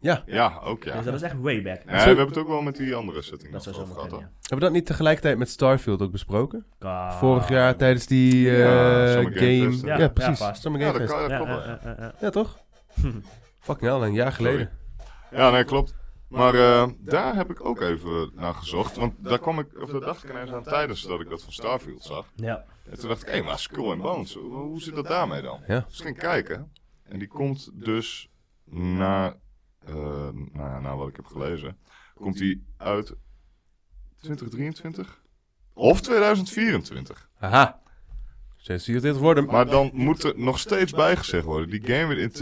Speaker 3: Ja,
Speaker 2: Ja, ook ja.
Speaker 1: Dus dat is echt way back.
Speaker 2: Nee, we hebben het ook wel met die andere setting
Speaker 1: Dat zou
Speaker 2: nog over
Speaker 1: zomaar
Speaker 2: gehad.
Speaker 1: kunnen,
Speaker 2: hoor.
Speaker 1: ja.
Speaker 3: hebben we dat niet tegelijkertijd met Starfield ook besproken?
Speaker 1: Ka-
Speaker 3: vorig jaar tijdens die eh,
Speaker 2: Ah. Ja, Summer Game
Speaker 3: game.
Speaker 2: Fest, hè?
Speaker 3: Ja,
Speaker 1: Ja,
Speaker 3: precies.
Speaker 1: ja, vast.
Speaker 3: Summer
Speaker 2: Ja,
Speaker 3: Game
Speaker 2: dat,
Speaker 3: Fest.
Speaker 2: kan, dat
Speaker 1: Ja,
Speaker 2: klopt
Speaker 1: eh,
Speaker 2: wel.
Speaker 1: eh, eh, eh.
Speaker 3: Ja,
Speaker 2: <laughs>
Speaker 3: toch? Fucking hell, een jaar geleden.
Speaker 2: Ja, nee, klopt. Maar eh, daar heb ik ook even naar gezocht. Want daar kwam ik, of dat dacht ik ineens aan tijdens dat ik dat van Starfield zag.
Speaker 1: Ja.
Speaker 2: En toen dacht ik, hé, maar Skull and Bones, hoe, hoe zit dat daarmee dan?
Speaker 3: Ja.
Speaker 2: Dus ik ging kijken. En die komt dus na, eh nou ja, na wat ik heb gelezen, komt die uit 2023 of 2024.
Speaker 3: Aha. Steeds zie je dit worden.
Speaker 2: Maar dan moet er nog steeds bijgezegd worden, die game werd in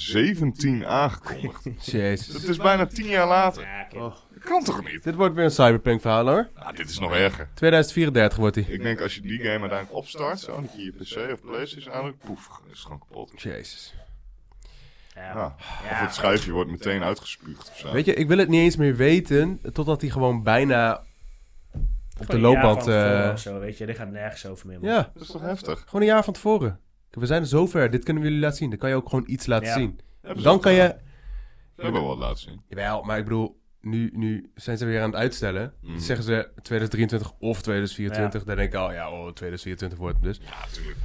Speaker 2: 2017 aangekondigd.
Speaker 3: Jezus.
Speaker 2: Dat is bijna 10 jaar later.
Speaker 1: Ja, oké.
Speaker 2: Dat kan toch niet?
Speaker 3: Dit wordt weer een cyberpunk verhaal hoor.
Speaker 2: Nou, dit is nog erger.
Speaker 3: 2034 wordt hij.
Speaker 2: Ik denk als je die game uiteindelijk opstart, zo, dat je je PC of PlayStation aandrukt, poef, is het gewoon kapot.
Speaker 3: Jezus.
Speaker 1: Ja.
Speaker 2: Ja. Of het schuifje wordt meteen uitgespuugd of zo.
Speaker 3: Weet je, ik wil het niet eens meer weten totdat hij gewoon bijna op de
Speaker 1: Een jaar
Speaker 3: loopband...
Speaker 1: van tevoren
Speaker 3: eh,
Speaker 1: of zo, weet je. Dit gaat nergens over meer. man.
Speaker 3: ja,
Speaker 2: Dat is toch heftig?
Speaker 3: gewoon een jaar van tevoren. We zijn er zover. Dit kunnen we jullie laten zien. Dan kan je ook gewoon iets laten
Speaker 1: Ja.
Speaker 3: zien.
Speaker 2: Hebben ze
Speaker 3: Dan
Speaker 2: ook
Speaker 3: kan
Speaker 2: gedaan.
Speaker 3: je...
Speaker 2: Dat hebben we wel laten zien.
Speaker 3: Jawel, maar ik bedoel, nu, nu zijn ze weer aan het uitstellen.
Speaker 2: Mm.
Speaker 3: Dan zeggen ze 2023 of 2024. Dan denk ik al, ja, oh, 2024 wordt het dus.
Speaker 2: Ja, natuurlijk.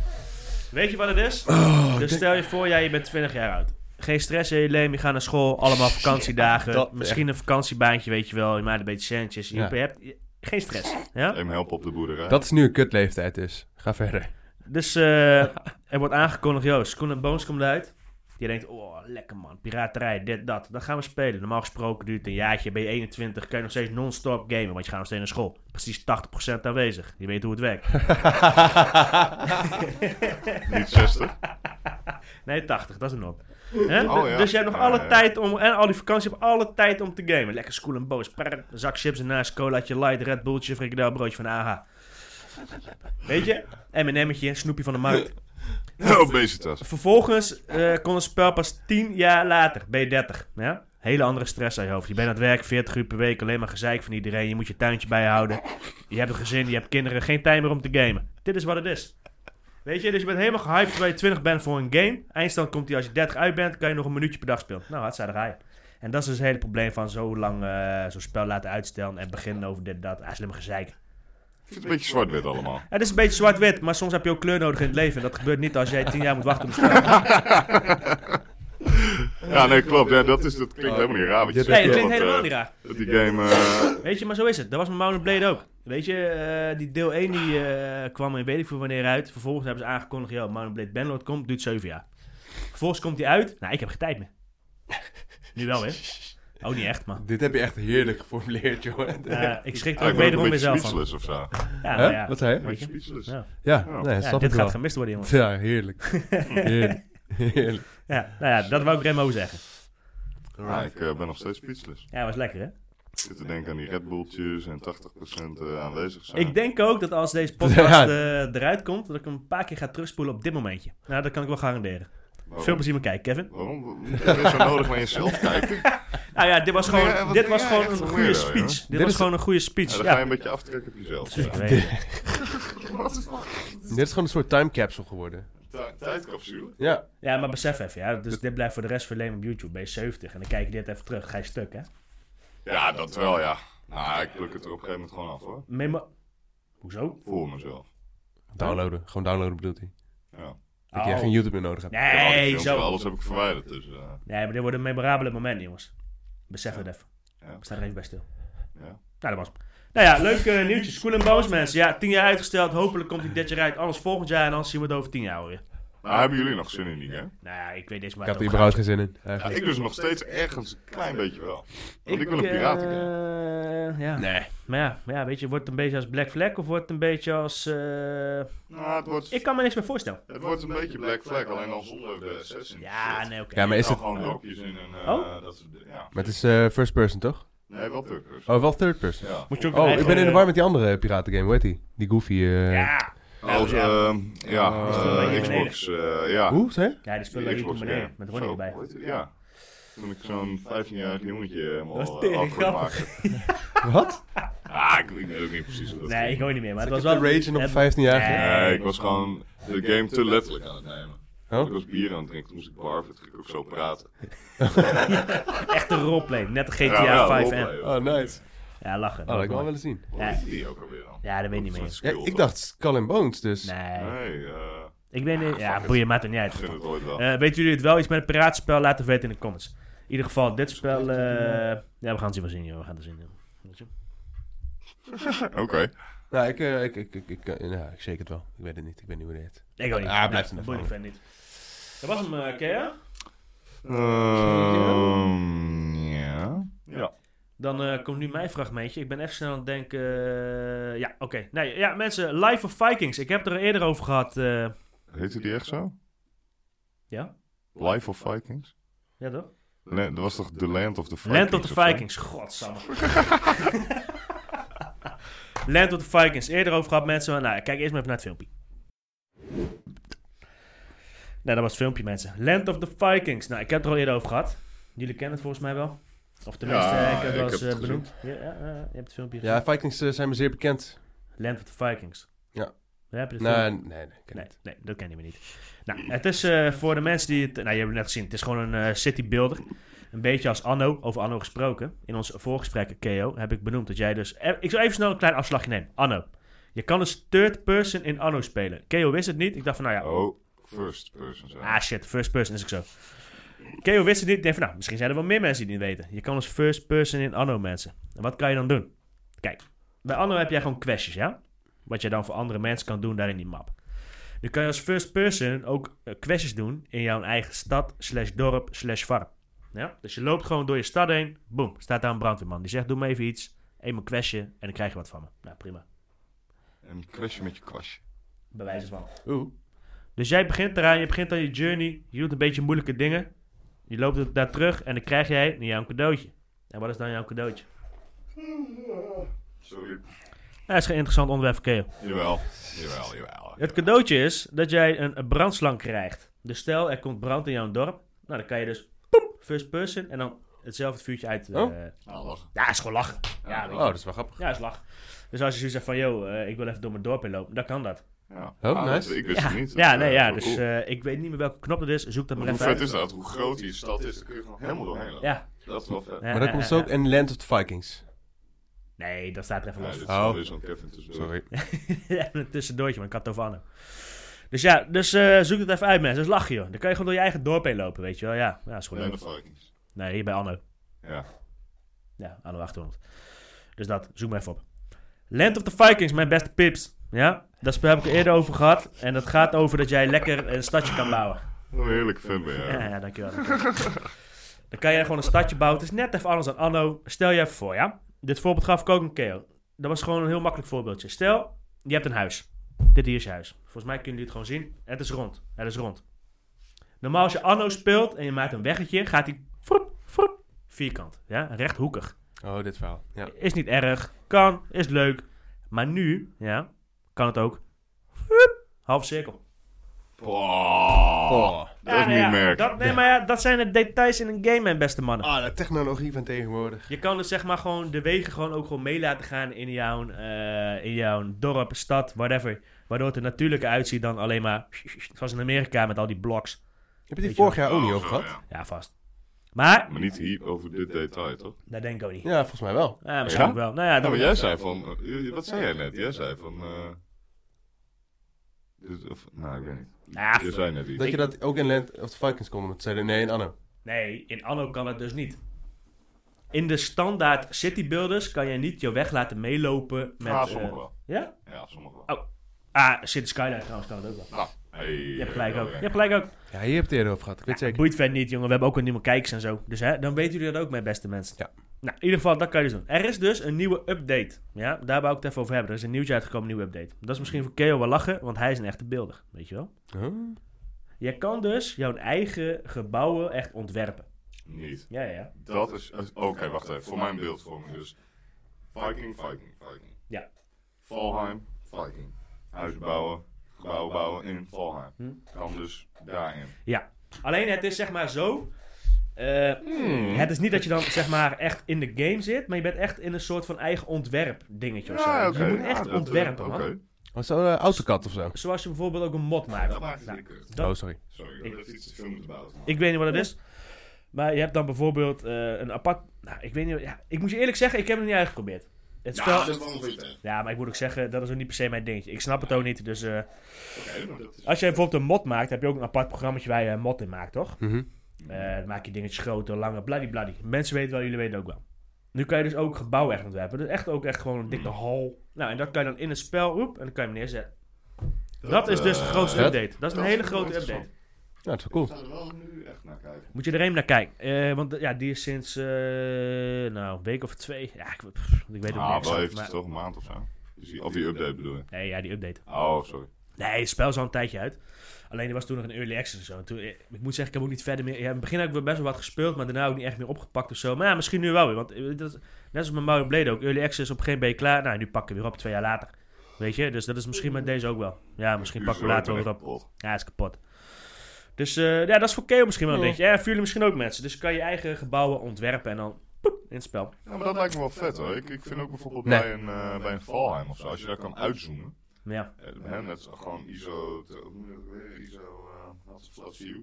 Speaker 1: Weet je wat het is?
Speaker 2: Oh,
Speaker 1: dus stel je voor, jij je bent 20 jaar oud. Geen stress in je leven, je gaat naar school, allemaal vakantiedagen.
Speaker 3: dat-
Speaker 1: Misschien een vakantiebaantje, weet je wel. Je maakt een beetje centjes. Je
Speaker 3: Ja.
Speaker 1: hebt, je- Geen stress. Ja?
Speaker 2: Neem helpen op de boerderij.
Speaker 3: Dat is nu een kutleeftijd dus. Ga verder.
Speaker 1: Dus eh, er wordt aangekondigd, joh, Schoen en Bones komt uit. Je denkt, oh, lekker man, piraterij, dit, dat. Dat gaan we spelen. Normaal gesproken duurt het een jaartje, ben je 21, kun je nog steeds non-stop gamen, want je gaat nog steeds naar school. Precies 80% aanwezig. Je weet hoe het werkt.
Speaker 2: Niet 60.
Speaker 1: Nee, 80, dat is een op. Hè?
Speaker 2: Oh, ja.
Speaker 1: Dus je hebt nog
Speaker 2: Ja,
Speaker 1: alle
Speaker 2: ja.
Speaker 1: tijd om, en al die vakantie, je hebt alle tijd om te gamen. Lekker school en boos. Prrr, zak chips ernaast, colaatje light, Red Bulltje, frikadelbroodje van de AH. Weet je? M&M'tje, snoepje van de markt.
Speaker 2: <laughs> Obesitas.
Speaker 1: Vervolgens eh, kon het spel pas 10 jaar later, ben je 30. Ja? Hele andere stress aan je hoofd. Je bent aan het werk 40 uur per week, alleen maar gezeik van iedereen. Je moet je tuintje bijhouden. Je hebt een gezin, je hebt kinderen, geen tijd meer om te gamen. Dit is wat het is. Weet je, dus je bent helemaal gehyped terwijl je 20 bent voor een game. Eindstand komt hij als je 30 uit bent, kan je nog een minuutje per dag spelen. Nou, hartstikke raai. En dat is dus het hele probleem van zo lang eh, zo'n spel laten uitstellen en beginnen over dit, dat. Ah, slimme gezeik.
Speaker 2: Het is een beetje zwart-wit allemaal.
Speaker 1: Het is een beetje zwart-wit, maar soms heb je ook kleur nodig in het leven. En dat gebeurt niet als jij 10 jaar moet wachten op een spel.
Speaker 2: Ja, nee, klopt. Ja, dat, is, dat klinkt helemaal niet raar. Wat je
Speaker 3: Nee,
Speaker 2: zegt,
Speaker 1: Nee, dat
Speaker 2: want,
Speaker 1: klinkt
Speaker 2: eh,
Speaker 1: helemaal niet raar.
Speaker 2: Dat die game... eh,
Speaker 1: Weet je, maar zo is het. Dat was met Mountain Blade ook. Weet je, eh, die deel 1 die, eh, kwam in weet ik veel wanneer uit. Vervolgens hebben ze aangekondigd, joh, Mountain Blade Bandlord komt, duurt 7 jaar. Vervolgens komt die uit. Nou, ik heb geen tijd meer. nu wel weer. Ook niet echt, man.
Speaker 3: Dit heb je echt heerlijk geformuleerd, jongen.
Speaker 1: ik schrik er
Speaker 2: ja,
Speaker 1: ook
Speaker 2: ik ben
Speaker 1: wederom
Speaker 2: ook
Speaker 1: weer
Speaker 2: een beetje
Speaker 1: zelf van.
Speaker 2: speechless of zo.
Speaker 1: Ja,
Speaker 3: Hè?
Speaker 1: nou ja.
Speaker 3: Wat zei je?
Speaker 2: Een
Speaker 1: Weet je?
Speaker 2: beetje speechless.
Speaker 1: Ja.
Speaker 3: Ja, nee,
Speaker 1: Ja,
Speaker 3: snap
Speaker 1: dit
Speaker 3: ik
Speaker 1: gaat
Speaker 3: wel.
Speaker 1: gemist worden, jongens.
Speaker 3: Ja,
Speaker 1: <laughs>
Speaker 3: heerlijk. Heerlijk. heerlijk.
Speaker 1: Ja, nou ja, dat wou ik Remo zeggen.
Speaker 2: Ja, ik eh, ben nog steeds speechless.
Speaker 1: Ja, was lekker, hè?
Speaker 2: Ik zit te denken aan die Red Bulltjes en 80% eh, aanwezig zijn.
Speaker 1: Ik denk ook dat als deze podcast
Speaker 3: Ja.
Speaker 1: eh, eruit komt, dat ik hem een paar keer ga terugspoelen op dit momentje. Nou, dat kan ik wel garanderen.
Speaker 2: Waarom-
Speaker 1: Veel plezier met kijken, Kevin.
Speaker 2: Waarom moet je weer zo nodig naar
Speaker 1: <laughs>
Speaker 2: jezelf kijken? Ja,
Speaker 1: Nou ja, dit was gewoon,
Speaker 2: Ja, wat
Speaker 1: dit
Speaker 2: ben
Speaker 1: was
Speaker 2: jij
Speaker 1: gewoon
Speaker 2: echt
Speaker 1: een
Speaker 2: een
Speaker 1: goede
Speaker 2: weirdo,
Speaker 1: speech. Dit,
Speaker 3: Dit
Speaker 1: was
Speaker 3: is-
Speaker 1: gewoon een goede speech.
Speaker 2: dan
Speaker 1: Ja,
Speaker 2: ga je een beetje aftrekken op jezelf.
Speaker 1: Zeker
Speaker 2: Ja.
Speaker 1: weten.
Speaker 2: What the fuck?
Speaker 3: Dit is gewoon een soort time capsule geworden.
Speaker 2: Ti- Tijdcapsule?
Speaker 3: Ja.
Speaker 1: Ja, maar besef even, ja, dus dit blijft voor de rest verleend op YouTube. Ben je 70 en dan kijk je dit even terug, ga je stuk, hè?
Speaker 2: Ja, dat wel, ja. Nou, ik pluk het er op een gegeven moment gewoon af, hoor.
Speaker 1: Memo... Hoezo?
Speaker 2: Voor mezelf.
Speaker 3: Downloaden. Gewoon downloaden bedoelt hij.
Speaker 2: Ja.
Speaker 3: Dat je
Speaker 1: Oh.
Speaker 3: geen YouTube meer nodig hebt.
Speaker 2: Ik heb al die
Speaker 1: Nee,
Speaker 2: filmpjes,
Speaker 1: zo.
Speaker 2: Alles heb ik verwijderd, dus... eh,
Speaker 1: Nee, maar dit wordt een memorabele moment, jongens. Besef het even.
Speaker 2: Ja.
Speaker 1: Sta er even bij stil.
Speaker 2: ja.
Speaker 1: Nou, dat was hem. Nou ja, leuk eh, nieuwtje. School and Bones, mensen. Ja, 10 jaar uitgesteld. Hopelijk komt die dit jaar uit. Alles volgend jaar en anders zien we het over 10 jaar weer.
Speaker 2: Maar Nou, hebben jullie nog zin in die game?
Speaker 1: Nou ja, ik weet deze maar...
Speaker 3: Ik had er überhaupt geen zin in. Eh,
Speaker 2: Ja,
Speaker 3: Eigenlijk.
Speaker 2: ik dus nog steeds ergens een klein beetje wel. Want ik wil een piraten game.
Speaker 1: eh, ja.
Speaker 3: Nee.
Speaker 1: Maar ja, maar ja, weet je, wordt het een beetje als Black Flag of wordt het een beetje als... eh,
Speaker 2: Nou, het wordt,
Speaker 1: Ik kan me niks meer voorstellen.
Speaker 2: het wordt een beetje Black Flag, alleen al zonder de assassin.
Speaker 1: Ja,
Speaker 2: Shit.
Speaker 1: nee, oké.
Speaker 3: Ja, maar is
Speaker 2: Nou,
Speaker 3: het...
Speaker 2: gewoon rokjes in en eh,
Speaker 1: Oh?
Speaker 2: dat soort dingen. Ja.
Speaker 3: Maar het is eh, first person, toch?
Speaker 2: Nee, wel tukkers.
Speaker 3: Oh, wel third person.
Speaker 2: Ja.
Speaker 1: Moet je ook
Speaker 3: Oh,
Speaker 1: een
Speaker 3: ik ben in de
Speaker 1: eigen-
Speaker 3: war met die andere eh, piratengame, hoe heet die? Die Goofy. eh,
Speaker 1: Ja.
Speaker 2: Als,
Speaker 1: ja.
Speaker 2: ehm, ja,
Speaker 3: Oh.
Speaker 2: eh, Xbox, eh, ja.
Speaker 3: Hoe, zei je?
Speaker 1: Ja, die spullen
Speaker 2: Die
Speaker 1: liepen
Speaker 2: Xbox
Speaker 1: beneden,
Speaker 2: game.
Speaker 1: met Ronnie
Speaker 2: Zo,
Speaker 1: erbij.
Speaker 2: hoe heet het? Ja. Toen ik zo'n 15-jarig jongetje helemaal
Speaker 1: Dat is
Speaker 2: eh,
Speaker 1: tering
Speaker 2: awkward maakte.
Speaker 3: Wat?
Speaker 2: Ah, ik, ik weet ook niet precies hoe dat
Speaker 1: Nee,
Speaker 2: ging.
Speaker 1: ik hoor niet meer, maar het was
Speaker 3: Was
Speaker 1: wel...
Speaker 3: Rage op
Speaker 1: het-
Speaker 3: 15 jaar.
Speaker 1: Nee.
Speaker 2: Nee, ik was gewoon de game te letterlijk aan het nemen.
Speaker 3: Oh.
Speaker 2: Ik was bier aan het drinken, toen moest ik barven, toen ging ik ook zo praten.
Speaker 1: Echte roleplay, net de
Speaker 2: Ja,
Speaker 1: GTA
Speaker 2: ja,
Speaker 1: 5
Speaker 2: roleplay.
Speaker 1: m
Speaker 3: Oh, nice.
Speaker 1: Ja, lachen.
Speaker 3: Oh, dat ik wel willen zien.
Speaker 2: Hoe
Speaker 1: Ja.
Speaker 2: heet die ook alweer dan?
Speaker 1: Ja, dat weet ik niet
Speaker 2: Zo'n
Speaker 1: meer.
Speaker 3: Ja,
Speaker 2: skill,
Speaker 3: ik
Speaker 2: toch?
Speaker 3: dacht Skull and Bones, dus.
Speaker 1: Nee,
Speaker 2: Nee, eh, ik
Speaker 1: ik ben... in- Ja, boeien, maakt het niet uit.
Speaker 2: vind het ooit wel.
Speaker 1: Eh, weten jullie het wel? Iets met een piratenspel? Laat het weten in de comments. In ieder geval, dit spel... eh, Ja, we gaan het zien wel zien, joh. We gaan het zien, joh. Weet je?
Speaker 2: Oké.
Speaker 3: Nou, ik, eh, ik, ik, ik, ik, eh, nou, ik shake het wel. Ik weet het niet, ik ben niet hoe het heet.
Speaker 1: Ik ook niet.
Speaker 3: Ah,
Speaker 1: Nee,
Speaker 3: blijft in de
Speaker 1: boeien, fan niet. Dat was hem, eh, Kea.
Speaker 2: Ehm, ja. Ja.
Speaker 1: Dan eh, komt nu mijn fragmentje. Ik ben even snel aan het denken. eh, ja, oké. Nee, ja, mensen, Life of Vikings. Ik heb het er eerder over gehad. eh,
Speaker 2: Heette die echt zo?
Speaker 1: ja?
Speaker 2: Life of Vikings?
Speaker 1: Ja, toch?
Speaker 2: Nee, dat was toch The Land of the Vikings?
Speaker 1: Land of the
Speaker 2: zo?
Speaker 1: Vikings. Godsamme. <laughs> Land of the Vikings. Eerder over gehad, mensen. Nou, kijk eerst maar even naar het filmpje. Nou, dat was het filmpje, mensen. Land of the Vikings. Nou, ik heb het er al eerder over gehad. Jullie kennen het volgens mij wel. Of tenminste,
Speaker 2: Ja,
Speaker 1: eh, ik heb het wel
Speaker 2: ik
Speaker 1: eens
Speaker 2: heb het
Speaker 1: eh, benoemd. Ja, ja, ja, je hebt het filmpje gezien.
Speaker 3: Ja, Vikings eh, zijn me zeer bekend.
Speaker 1: Land of the Vikings.
Speaker 3: Ja.
Speaker 1: Heb je het filmpje?
Speaker 3: Nee, nee, nee. ik ken
Speaker 1: Nee,
Speaker 3: het.
Speaker 1: nee, dat kennen we niet. Nou, het is eh, voor de mensen die het... Nou, je hebt het net gezien. Het is gewoon een eh, city builder. Een beetje als Anno, over Anno gesproken. In ons voorgesprek, KO, heb ik benoemd dat jij dus... eh, ik zou even snel een klein afslagje nemen. Anno. Je kan dus third person in Anno spelen. KO wist het niet. Ik dacht van, nou ja...
Speaker 2: Oh, first person zijn.
Speaker 1: Ah shit, first person is ik zo. KO wist het niet. Ik denk van, nou, misschien zijn er wel meer mensen die het niet weten. Je kan dus first person in Anno, mensen. En wat kan je dan doen? Kijk, Bij Anno heb jij gewoon questjes, ja? Wat jij dan voor andere mensen kan doen daar in die map. Nu kan je als first person ook eh, questjes doen in jouw eigen stad, slash dorp, slash farm. Ja? Dus je loopt gewoon door je stad heen. Boom, staat daar een brandweerman. Die zegt, doe me even iets. Even een questje en dan krijg je wat van me. Nou, prima.
Speaker 2: Een kwestie met je kwastje.
Speaker 1: Bij wijze van.
Speaker 3: Oeh.
Speaker 1: Dus jij begint eraan, je begint aan je journey. Je doet een beetje moeilijke dingen. Je loopt het daar terug en dan krijg jij jouw cadeautje. En wat is dan jouw cadeautje?
Speaker 2: Sorry.
Speaker 1: Nou, dat is geen interessant onderwerp voor Keo.
Speaker 2: Jawel, jawel, jawel.
Speaker 1: Het cadeautje is dat jij een, een brandslang krijgt. Dus stel, er komt brand in jouw dorp. Nou, dan kan je dus poep, first person en dan hetzelfde vuurtje uit. eh,
Speaker 3: Oh.
Speaker 2: Nou, wacht.
Speaker 1: Ja, is gewoon lachen. Ja, weet
Speaker 3: Oh,
Speaker 1: je.
Speaker 3: dat is wel grappig.
Speaker 1: ja, is lachen. Dus als je zoiets zegt van, yo, eh, ik wil even door mijn dorp heen lopen, dan kan dat.
Speaker 2: Ja. Oh,
Speaker 3: nice.
Speaker 2: Ik wist
Speaker 1: ja,
Speaker 2: het niet.
Speaker 1: ja,
Speaker 2: Dat,
Speaker 1: nee,
Speaker 2: eh,
Speaker 1: ja.
Speaker 2: wel
Speaker 1: Dus
Speaker 2: cool.
Speaker 1: eh, ik weet niet meer welke knop het is. Zoek dat maar
Speaker 2: Hoe
Speaker 1: even
Speaker 2: vet
Speaker 1: uit.
Speaker 2: is dat? Hoe groot die stad is, daar kun je gewoon helemaal doorheen lopen.
Speaker 1: Ja.
Speaker 2: Dat is wel vet.
Speaker 1: Ja,
Speaker 3: Maar dan
Speaker 1: ja,
Speaker 3: komt ze
Speaker 1: ja,
Speaker 3: ook in Land of the Vikings.
Speaker 1: ja. Nee, dat staat er even
Speaker 2: Ja,
Speaker 1: los.
Speaker 2: dit is
Speaker 3: Oh.
Speaker 2: weer zo'n Kevin tussendoor.
Speaker 3: Sorry.
Speaker 1: <laughs> Even een tussendoortje, maar ik had het over Anno. Dus ja, dus eh, zoek het even uit, mensen. Dus lach je, joh. Dan kan je gewoon door je eigen dorp heen lopen, weet je wel. Ja, ja is goed.
Speaker 2: Nee,
Speaker 1: leuk.
Speaker 2: de Vikings.
Speaker 1: Nee, hier bij Anno.
Speaker 2: Ja.
Speaker 1: Ja, Anno 800. Dus dat, zoek maar even op. Land of the Vikings, mijn beste pips. Ja, dat spel heb ik er eerder over gehad. En dat gaat over dat jij lekker een stadje kan bouwen.
Speaker 2: Wat een heerlijk fan ben
Speaker 1: Ja,
Speaker 2: jij.
Speaker 1: ja, dankjewel. dankjewel. dan kan jij gewoon een stadje bouwen. Het is net even anders dan Anno. Stel je even voor, ja? Dit voorbeeld gaf ik ook een keo. Dat was gewoon een heel makkelijk voorbeeldje. Stel, je hebt een huis. Dit hier is je huis. Volgens mij kunnen jullie het gewoon zien. Het is rond. Het is rond. Normaal als je Anno speelt en je maakt een weggetje, gaat hij vroep, vroep, vierkant. Ja, rechthoekig.
Speaker 3: Oh, dit verhaal. Ja.
Speaker 1: Is niet erg. Kan. Is leuk. Maar nu, ja, kan het ook. Vroep, half cirkel.
Speaker 2: Oh, dat is
Speaker 1: Ja, nou ja,
Speaker 2: niet merk.
Speaker 1: dat, nee, maar ja, dat zijn de details in een game, mijn beste mannen.
Speaker 3: Ah, de technologie van tegenwoordig.
Speaker 1: Je kan dus zeg maar gewoon de wegen gewoon ook gewoon mee laten gaan in jouw, eh, in jouw dorp, stad, whatever. Waardoor het er natuurlijker uitziet dan alleen maar zoals in Amerika met al die bloks.
Speaker 3: Heb je
Speaker 1: Weet
Speaker 3: die
Speaker 1: je
Speaker 3: vorig jaar ook niet
Speaker 2: Oh,
Speaker 3: over
Speaker 2: zo,
Speaker 3: gehad?
Speaker 2: ja.
Speaker 1: Ja, vast. Maar,
Speaker 2: Maar niet hier over dit detail, toch?
Speaker 1: dat denk ik ook niet.
Speaker 3: Ja, volgens mij wel.
Speaker 1: Ja, misschien
Speaker 2: Ja? Oh,
Speaker 1: ook wel. Nou ja,
Speaker 2: Ja,
Speaker 1: dan,
Speaker 2: maar jij zei van... eh, wat zei jij net? Jij zei van... eh, dit- of, nou, ik weet niet.
Speaker 1: Ah,
Speaker 2: Je zei net iets.
Speaker 3: Dat je dat ook in Land of the Vikings kon. want zeiden nee, in Anno.
Speaker 1: nee, in Anno kan het dus niet. In de standaard city builders kan je niet je weg laten meelopen met...
Speaker 2: Ah,
Speaker 1: eh,
Speaker 2: sommige wel.
Speaker 1: ja?
Speaker 2: Ja, sommige wel.
Speaker 1: Oh. Ah, City Skyline trouwens kan het ook wel.
Speaker 2: Nou, hey, eh,
Speaker 1: Je hebt gelijk ook. Je
Speaker 2: Ja,
Speaker 1: hebt gelijk ook.
Speaker 3: Ja, hier heb je het eerder over gehad. Ik weet zeker.
Speaker 1: Boeit verder niet, jongen. We hebben ook een nieuwe kijkers en zo. Dus hè, dan weten jullie dat ook, mijn beste mensen.
Speaker 3: Ja.
Speaker 1: Nou, in ieder geval, dat kan je dus doen. Er is dus een nieuwe update. Ja, daar wou ik het even over hebben. Er is een nieuwtje uitgekomen, een nieuwe update. Dat is misschien voor Keo wel lachen, want hij is een echte beelder. Weet je wel?
Speaker 3: Huh?
Speaker 1: Je kan dus jouw eigen gebouwen echt ontwerpen.
Speaker 2: Niet.
Speaker 1: Ja, ja, ja.
Speaker 2: Dat is... Oké, wacht even. Voor mijn beeldvorming dus. Viking, Viking, Viking.
Speaker 1: Ja.
Speaker 2: Valheim, Viking. Huizen bouwen, gebouwen bouwen in Valheim.
Speaker 1: Hm.
Speaker 2: Kan dus daarin.
Speaker 1: Alleen het is zeg maar zo. eh,
Speaker 2: Hmm.
Speaker 1: Het is niet dat je dan zeg maar echt in de game zit, maar je bent echt in een soort van eigen ontwerp dingetje of zo.
Speaker 2: Ja, oké.
Speaker 1: Je moet echt
Speaker 2: Ja, dat-
Speaker 1: ontwerpen, man.
Speaker 2: oké.
Speaker 3: Was dat eh, AutoCAD of zo?
Speaker 1: Zoals je bijvoorbeeld ook een mod maakt.
Speaker 2: Dat maakt het
Speaker 1: Nou,
Speaker 2: niet kut.
Speaker 1: Dat-
Speaker 3: Oh, sorry.
Speaker 2: Sorry,
Speaker 1: Ik-
Speaker 2: dat is iets te veel moeten bouwen.
Speaker 1: Ik weet niet wat het is. Maar je hebt dan bijvoorbeeld eh, een apart. Nou, ik weet niet. Ja, ik moet je eerlijk zeggen, ik heb het niet uitgeprobeerd. Het spel. Ja,
Speaker 2: Nou, dat is wel een beetje.
Speaker 1: maar ik moet ook zeggen, dat is ook niet per se mijn dingetje. Ik snap het ook niet. Dus eh,
Speaker 2: Oké, maar dat is-
Speaker 1: als jij bijvoorbeeld een mod maakt, heb je ook een apart programma waar je een mod in maakt, toch?
Speaker 3: Mhm.
Speaker 1: Eh, dan maak je dingetjes groter, langer, bladibladie. Mensen weten wel, jullie weten ook wel. Nu kan je dus ook gebouwen echt ontwerpen. Dus echt ook echt gewoon een
Speaker 2: Hmm.
Speaker 1: dikke hal. Nou, en dat kan je dan in het spel, oep, en dan kan je hem neerzetten. Dat, is dus de
Speaker 2: eh,
Speaker 1: grootste
Speaker 3: dat-
Speaker 1: update. Dat is een
Speaker 2: dat
Speaker 1: hele
Speaker 2: is
Speaker 1: grote
Speaker 2: interessant.
Speaker 1: update.
Speaker 3: Ja, dat is wel
Speaker 2: Ik
Speaker 3: cool.
Speaker 2: ga er wel nu echt naar kijken.
Speaker 1: Moet je er even naar kijken. Eh, want ja, die is sinds eh, nou, een week of twee. Ja, ik, pff, ik weet het
Speaker 2: Ah,
Speaker 1: niet.
Speaker 2: wel
Speaker 1: exact,
Speaker 2: eventjes
Speaker 1: maar-
Speaker 2: toch, een maand of zo. Dus die- Of die update bedoel je?
Speaker 1: Nee, ja, die update.
Speaker 2: Oh, sorry.
Speaker 1: Nee, het spel is al een tijdje uit. Alleen er was toen nog een early access en zo. En toen, eh, ik moet zeggen, ik heb ook niet verder meer. Ja, in het begin heb ik wel best wel wat gespeeld, maar daarna ook niet echt meer opgepakt of zo. Maar ja, misschien nu wel weer. Want eh, dat, is- net als met Mario Blade ook. Early access op geen ben je klaar. Nou, nu pakken we weer op twee jaar later. Weet je, dus dat is
Speaker 2: Mm.
Speaker 1: misschien met deze ook wel. Ja, misschien pakken we later wel weer op. Ja, is kapot. Dus eh, ja, dat is voor Keo misschien wel een
Speaker 3: Ja.
Speaker 1: dingetje. Ja, voor jullie misschien ook mensen. Dus kan je eigen gebouwen ontwerpen en dan poep, in het spel.
Speaker 2: Ja, maar dat lijkt me wel vet hoor. Ik, ik vind ook bijvoorbeeld
Speaker 3: Nee.
Speaker 2: bij, een, eh, bij een Valheim of zo, als je daar kan uitzoomen.
Speaker 1: Ja,
Speaker 2: eh, hè, net zo- gewoon ISO, te- hoe noem je dat ook weer? ISO, eh, wat is het, flat view.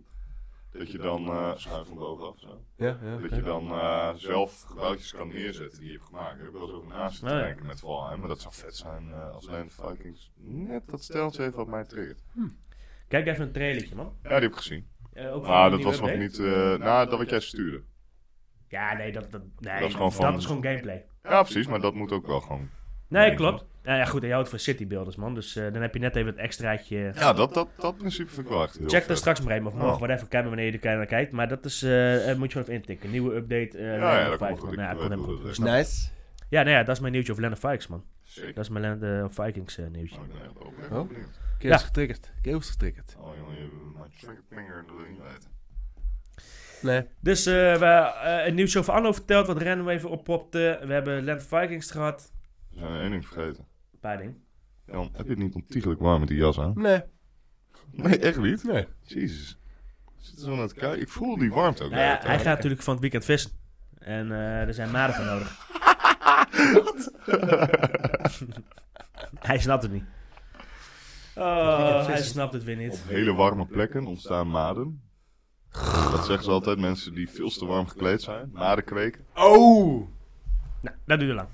Speaker 2: Dat je dan, eh schuif van bovenaf zo.
Speaker 3: Ja, ja.
Speaker 2: Dat
Speaker 3: oké.
Speaker 2: je dan eh, zelf gebouwtjes kan neerzetten die je hebt gemaakt. Ik heb wel eens over naast te
Speaker 1: Oh, ja.
Speaker 2: denken met Valheim, maar dat zou vet zijn eh, als Land of Vikings net dat steltje even wat mij triggert.
Speaker 1: kijk even een trailertje, man.
Speaker 2: Ja, die heb ik gezien.
Speaker 1: Eh, ook van
Speaker 2: Maar
Speaker 1: de
Speaker 2: Ah, dat
Speaker 1: nieuwe
Speaker 2: was nog
Speaker 1: update.
Speaker 2: niet, eh na dat wat jij stuurde.
Speaker 1: Ja, nee, dat, dat, nee,
Speaker 2: Dat
Speaker 1: dat
Speaker 2: is
Speaker 1: is
Speaker 2: gewoon
Speaker 1: gewoon,
Speaker 2: van-
Speaker 1: gameplay.
Speaker 2: Ja, precies, maar dat moet ook wel gewoon
Speaker 1: Nee,
Speaker 2: Ja,
Speaker 1: klopt. Nou ja, goed, en je houdt van citybuilders, man. Dus eh, dan heb je net even het extraatje.
Speaker 2: Ja, dat, dat, dat principe vind ik wel echt heel
Speaker 1: Check
Speaker 2: vet.
Speaker 1: daar straks maar even, of morgen,
Speaker 2: Oh.
Speaker 1: whatever, kijk maar wanneer je er naar kijkt. Maar dat is, eh, eh, moet je gewoon even intikken. Nieuwe update. eh Land
Speaker 2: ja,
Speaker 1: of
Speaker 2: dat komt
Speaker 1: Vikes,
Speaker 2: goed.
Speaker 1: man.
Speaker 2: Ik
Speaker 1: Nou, komt
Speaker 2: weet hoe
Speaker 1: helemaal goed.
Speaker 2: dat is.
Speaker 3: Nice.
Speaker 1: Ja, nou ja, dat is mijn nieuwtje over Land of Vikes, man.
Speaker 2: Zeker.
Speaker 1: Dat is mijn Land of Vikings eh, nieuwtje.
Speaker 2: Oh, ik ben echt oprecht
Speaker 3: Oh.
Speaker 2: benieuwd.
Speaker 3: Keels getriggerd. Keels getriggerd.
Speaker 2: Oh jongen, je hebt mijn triggervinger dat wil ik niet weten.
Speaker 3: Nee.
Speaker 1: Dus eh, we hebben een nieuwtje over Anno verteld, wat random even oppopte. We hebben Land of Vikings gehad.
Speaker 2: We zijn één ding vergeten.
Speaker 1: Een paar dingen.
Speaker 2: Jan, heb je het niet ontiegelijk warm met die jas aan?
Speaker 3: Nee.
Speaker 2: Nee, echt niet?
Speaker 3: Nee.
Speaker 2: Jezus. Ik Zit er zo naar te kijken. Ik voel die warmte ook.
Speaker 1: Nou ja,
Speaker 2: net, hè.
Speaker 1: hij gaat natuurlijk van het weekend vissen. En eh, er zijn maden voor nodig. <laughs> hij snapt het niet. Oh, hij snapt het weer
Speaker 2: Op
Speaker 1: niet.
Speaker 2: hele warme plekken ontstaan maden. Dat zeggen ze altijd, mensen die veel te warm gekleed zijn. Maden kweken.
Speaker 3: Oh!
Speaker 1: Nou, dat duurde lang.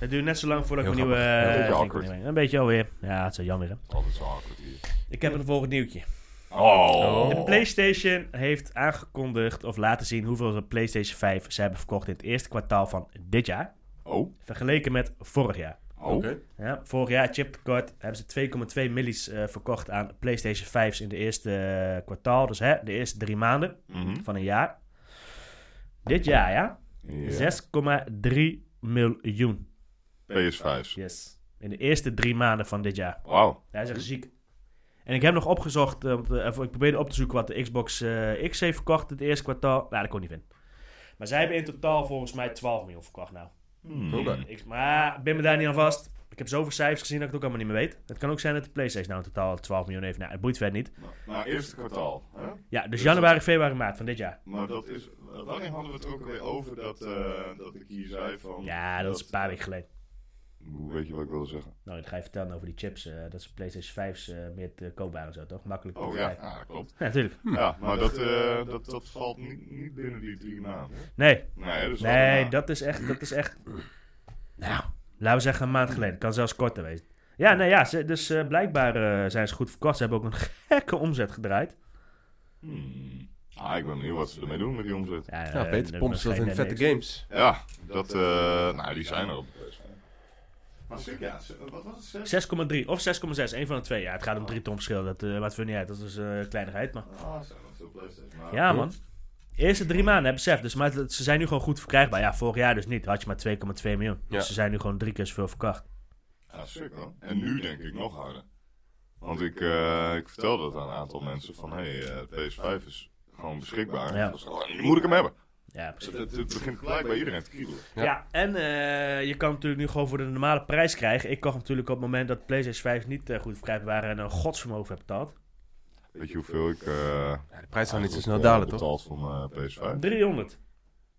Speaker 1: Dat duurde net zo lang voordat ik een
Speaker 3: Heel
Speaker 1: nieuwe...
Speaker 3: grappig.
Speaker 2: Ja,
Speaker 1: eh, ging
Speaker 2: een beetje awkward.
Speaker 1: nemen. Een beetje alweer. Ja, het is wel jammer hè.
Speaker 2: Altijd zo awkward hier.
Speaker 1: Ik heb een volgend nieuwtje.
Speaker 2: Oh.
Speaker 1: De PlayStation heeft aangekondigd of laten zien hoeveel ze PlayStation 5 ze hebben verkocht in het eerste kwartaal van dit jaar.
Speaker 2: Oh.
Speaker 1: Vergeleken met vorig jaar.
Speaker 2: Oh.
Speaker 1: Ja, vorig jaar chiptekort hebben ze 2,2 millies eh, verkocht aan PlayStation 5's in de eerste eh, kwartaal. Dus hè, de eerste drie maanden
Speaker 2: Mhm.
Speaker 1: van een jaar. Dit jaar, ja.
Speaker 2: Ja.
Speaker 1: 6,3 miljoen.
Speaker 2: PS5.
Speaker 1: Yes. In de eerste drie maanden van dit jaar.
Speaker 2: Wauw.
Speaker 1: Hij is echt ziek. En ik heb nog opgezocht, eh, want, eh, of ik probeerde op te zoeken wat de Xbox eh, X heeft verkocht in het eerste kwartaal. Nou, dat kon ik niet vinden. Maar zij hebben in totaal volgens mij 12 miljoen verkocht nou.
Speaker 2: Hmm.
Speaker 3: Oké.
Speaker 1: Ik, maar ik ben me daar niet aan vast. Ik heb zoveel cijfers gezien dat ik het ook allemaal niet meer weet. Het kan ook zijn dat de PlayStation nou in totaal 12 miljoen heeft. Nou, het boeit verder niet.
Speaker 2: Maar, maar eerste kwartaal. Hè?
Speaker 1: Ja, dus januari, februari, maart van dit jaar.
Speaker 2: Maar dat is. Wanneer hadden we het ook weer over dat, eh, dat ik hier zei van.
Speaker 1: Ja, dat is een paar weken geleden.
Speaker 2: Hoe weet je wat ik wilde zeggen?
Speaker 1: Nou, dat ga je vertellen over die chips. eh, dat ze PlayStation 5's eh, meer te koop waren en zo, toch? Makkelijk. te
Speaker 2: Oh ja,
Speaker 1: krijgen.
Speaker 2: ja dat klopt.
Speaker 1: Ja, natuurlijk.
Speaker 2: Ja, maar dat, eh, dat, dat valt niet, niet binnen die drie maanden.
Speaker 1: Nee,
Speaker 2: Nee, dat is wel
Speaker 1: nee,
Speaker 2: daarna.
Speaker 1: dat is echt, dat is echt... Nou, laten we zeggen een maand geleden. kan zelfs korter wezen. Ja, nou ja, ze- dus eh, blijkbaar eh, zijn ze goed verkocht. Ze hebben ook een <laughs> gekke omzet gedraaid.
Speaker 2: Hmm. Ah, ik ben benieuwd wat ze ermee doen met die omzet.
Speaker 1: Ja,
Speaker 3: Ja,
Speaker 1: eh,
Speaker 3: Peter pompt ze dat in
Speaker 1: waarschijnlijk
Speaker 3: vette
Speaker 1: niks.
Speaker 3: games.
Speaker 2: Ja, dat, eh, nou, die zijn er op de PS5. Maar zeker, ja, ze- wat was het? zes?
Speaker 1: 6,3 of 6,6, een van de twee. Ja, het gaat om drie ton verschil, dat eh maakt voor niet uit. Dat is een kleinigheid, maar...
Speaker 2: Ah, er zijn nog veel PlayStation. maar-
Speaker 1: Ja, man. De eerste drie maanden, hè, besef. Dus, maar het- ze zijn nu gewoon goed verkrijgbaar. Ja, vorig jaar dus niet. Had je maar 2,2 miljoen.
Speaker 3: Ja.
Speaker 1: Dus ze zijn nu gewoon drie keer zoveel verkocht.
Speaker 2: Ja, sick hoor. En nu denk ik nog harder. Want ik, eh, ik vertelde dat aan een aantal mensen van, hé, hey, eh, PS5 is gewoon beschikbaar.
Speaker 1: Ja.
Speaker 2: Dat is gewoon, nu moet ik hem hebben.
Speaker 1: Ja, precies.
Speaker 2: Het, Dus het, het begint gelijk bij iedereen te kriebelen.
Speaker 1: Ja,
Speaker 3: Ja.
Speaker 1: en eh, je kan hem natuurlijk nu gewoon voor de normale prijs krijgen. Ik kocht hem natuurlijk op het moment dat PlayStation 5 niet eh, goed verkrijgbaar waren en een godsvermogen heb betaald.
Speaker 2: Weet je hoeveel ik... eh
Speaker 3: Ja, de prijs zal niet zo snel
Speaker 2: eh,
Speaker 3: nou dalen, toch?
Speaker 2: betaald voor mijn PS5?
Speaker 1: 300.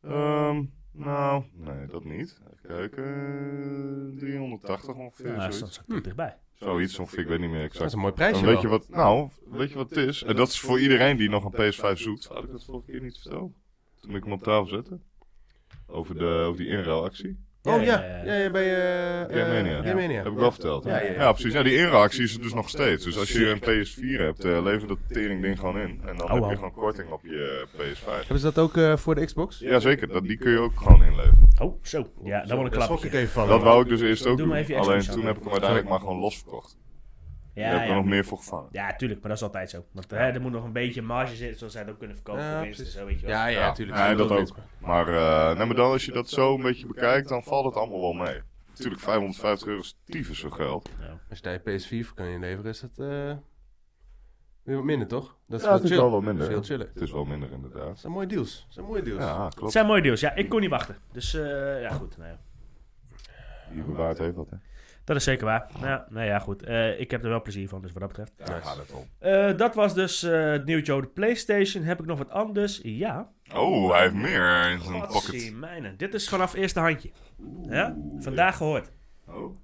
Speaker 2: Ehm, nou, nee, dat niet. Even kijken. 380 ongeveer.
Speaker 1: Ja,
Speaker 2: zoiets,
Speaker 1: stond zo dichtbij.
Speaker 2: zoiets ongeveer, ik weet niet meer
Speaker 3: Dat is
Speaker 2: exact.
Speaker 3: een mooi
Speaker 2: Dan
Speaker 3: prijsje
Speaker 2: weet je
Speaker 3: wel.
Speaker 2: wat, nou, weet je wat het is? En dat is voor iedereen die nog een PS5 zoekt. Had ik dat vorige keer niet verteld? Toen ik hem op tafel zette. Over, de, over die inruilactie.
Speaker 3: Oh ja,
Speaker 1: Ja, ja, ja.
Speaker 3: ja, ja, bij eh, eh,
Speaker 2: Game Mania.
Speaker 3: Mania.
Speaker 2: Heb ik wel verteld.
Speaker 3: Ja, ja, ja.
Speaker 2: precies. Ja, die inruilactie is er dus nog steeds. Dus als je een PS4 hebt, eh lever dat tering ding gewoon in. En dan
Speaker 1: Au,
Speaker 2: heb
Speaker 1: au.
Speaker 2: je gewoon korting op je eh, PS5.
Speaker 3: Hebben ze dat ook eh, voor de Xbox?
Speaker 2: Jazeker, dat, die kun je ook gewoon inleveren.
Speaker 1: Oh, zo. Ja, dan
Speaker 3: Zo,
Speaker 1: wordt een
Speaker 3: daar schrok ik
Speaker 1: klapje.
Speaker 3: even van.
Speaker 2: Dat wou ik dus eerst ook
Speaker 1: Doe maar even
Speaker 2: doen.
Speaker 1: je extra
Speaker 2: Alleen
Speaker 1: shot.
Speaker 2: toen heb ik hem uiteindelijk maar gewoon losverkocht. Daar
Speaker 1: Ja,
Speaker 2: heb ik er
Speaker 1: ja.
Speaker 2: nog meer voor gevangen.
Speaker 1: ja, tuurlijk, maar dat is altijd zo. Want hè, er moet nog een beetje marge zitten, zodat zij het ook kunnen verkopen.
Speaker 3: Ja,
Speaker 1: voor winst en
Speaker 3: precies.
Speaker 1: zo, weet je wel.
Speaker 3: Ja,
Speaker 2: Ja,
Speaker 3: ja, tuurlijk.
Speaker 2: ja, dat
Speaker 3: weet
Speaker 2: ook.
Speaker 3: ik.
Speaker 2: Maar, eh, nee, maar dan als je dat zo een beetje bekijkt, dan valt het allemaal wel mee. Natuurlijk, 550 euro is tyfus zo geld.
Speaker 3: Als je daar je PS4 voor kan inleveren, is dat eh, weer wat minder, toch? Dat is
Speaker 2: Ja,
Speaker 3: veel
Speaker 2: het is
Speaker 3: chill.
Speaker 2: wel wat
Speaker 3: Dat
Speaker 2: minder.
Speaker 3: is veel chiller.
Speaker 2: Het is wel minder inderdaad.
Speaker 3: Dat zijn mooie deals. Dat zijn mooie deals.
Speaker 2: Ja,
Speaker 1: Het
Speaker 2: klopt.
Speaker 1: zijn mooie deals. Ja, ik kon niet wachten. Dus eh, ja, goed. Nou, ja.
Speaker 2: Je bewaart heeft wat, hè?
Speaker 1: Dat is zeker waar. Ja, nou ja, goed. Eh, ik heb er wel plezier van, dus wat dat betreft.
Speaker 2: Daar gaat het om.
Speaker 1: Eh, dat was dus eh, het nieuwtje over de PlayStation. Heb ik nog wat anders? Ja.
Speaker 2: Oh, hij heeft meer in zijn
Speaker 1: Potsie,
Speaker 2: pocket.
Speaker 1: mijnen. Dit is vanaf eerste handje. Ja? Vandaag gehoord.
Speaker 2: Oh.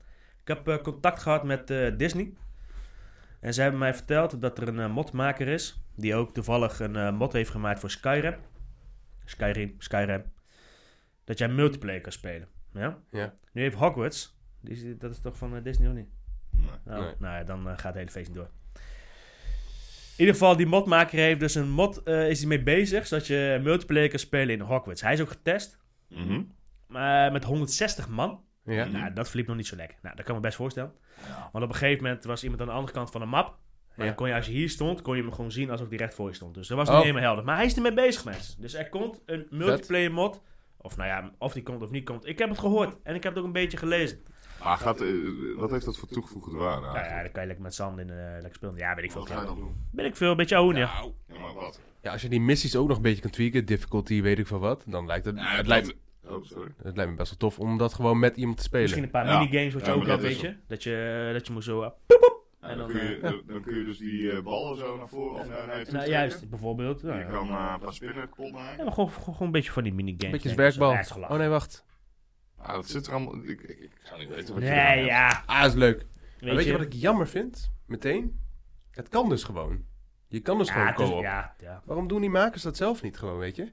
Speaker 1: Ik heb eh, contact gehad met eh, Disney. En zij hebben mij verteld dat er een eh, modmaker is. Die ook toevallig een eh, mod heeft gemaakt voor Skyrim. Skyrim, Skyrim. Dat jij multiplayer kan spelen. Ja?
Speaker 3: Ja.
Speaker 1: Nu heeft Hogwarts. Die, is- dat is toch van eh, Disney of niet?
Speaker 2: Nee.
Speaker 1: Nou,
Speaker 3: Nee.
Speaker 1: nou ja, dan eh, gaat het hele feest niet door. In ieder geval, die modmaker heeft dus een mod, eh, is hij mee bezig, zodat je multiplayer kan spelen in Hogwarts. Hij is ook getest,
Speaker 2: Mhm.
Speaker 1: maar met 160 Eh, man.
Speaker 3: Ja.
Speaker 1: Nou, dat verliep nog niet zo lekker. Nou, dat kan ik me best voorstellen. Want op een gegeven moment was iemand aan de andere kant van de map. Maar
Speaker 3: Ja.
Speaker 1: dan kon je, als je hier stond, kon je hem gewoon zien alsof hij recht voor je stond. Dus dat was
Speaker 3: Oh.
Speaker 1: niet helemaal helder. Maar hij is ermee bezig, mensen. Dus er komt een multiplayer mod. Of nou ja, of die komt of niet komt. Ik heb het gehoord. En ik heb het ook een beetje gelezen.
Speaker 2: Maar gaat, eh, wat heeft dat voor toegevoegde waarde
Speaker 1: Nou ja,
Speaker 2: eigenlijk?
Speaker 1: dan kan je lekker met zand in eh lekker spelen. Ja, weet ik veel.
Speaker 2: Ah, Wat ga je dan doen?
Speaker 1: Ben ik veel, een beetje ouder. Ja.
Speaker 2: Nou, ja, maar wat?
Speaker 3: Ja, als je die missies ook nog een beetje kan tweaken, difficulty, weet ik veel wat, dan lijkt het,
Speaker 2: Ja,
Speaker 3: het,
Speaker 2: dat-
Speaker 3: lijkt,
Speaker 2: Oh, sorry.
Speaker 3: me- het lijkt me best wel tof om dat gewoon met iemand te spelen.
Speaker 1: Misschien een paar
Speaker 2: Ja.
Speaker 1: minigames wat je
Speaker 2: Ja,
Speaker 1: ook
Speaker 2: maar
Speaker 1: hebt,
Speaker 2: dat
Speaker 1: weet
Speaker 2: is
Speaker 1: je. Dat je, dat je moet zo... eh,
Speaker 2: Ja,
Speaker 1: En
Speaker 2: dan,
Speaker 1: dan,
Speaker 2: kun je,
Speaker 1: eh,
Speaker 2: dan, dan kun je dus die eh, ballen zo naar voren of naar, naar je toe
Speaker 1: nou,
Speaker 2: trekken.
Speaker 1: juist, bijvoorbeeld. Nou,
Speaker 2: Je
Speaker 1: ja.
Speaker 2: kan eh, een paar spinnen kapot
Speaker 1: Ja,
Speaker 2: maken.
Speaker 1: maar gewoon, gewoon, gewoon een beetje van die minigames.
Speaker 3: Een beetje
Speaker 1: Nee, dat
Speaker 3: als
Speaker 1: is-
Speaker 3: werkbal.
Speaker 1: ja, is gelach.
Speaker 3: Oh nee, wacht.
Speaker 2: Ah, dat zit er allemaal... Ik, ik, ik zou niet weten wat je eraan
Speaker 1: Nee,
Speaker 2: hebt.
Speaker 1: ja.
Speaker 3: Ah, dat is leuk. Maar
Speaker 1: Weet,
Speaker 3: weet je wat ik jammer vind? Meteen? Het kan dus gewoon. Je kan dus
Speaker 1: Ja,
Speaker 3: gewoon
Speaker 1: het is-
Speaker 3: co-op.
Speaker 1: ja, ja.
Speaker 3: Waarom doen die makers dat zelf niet gewoon, weet je?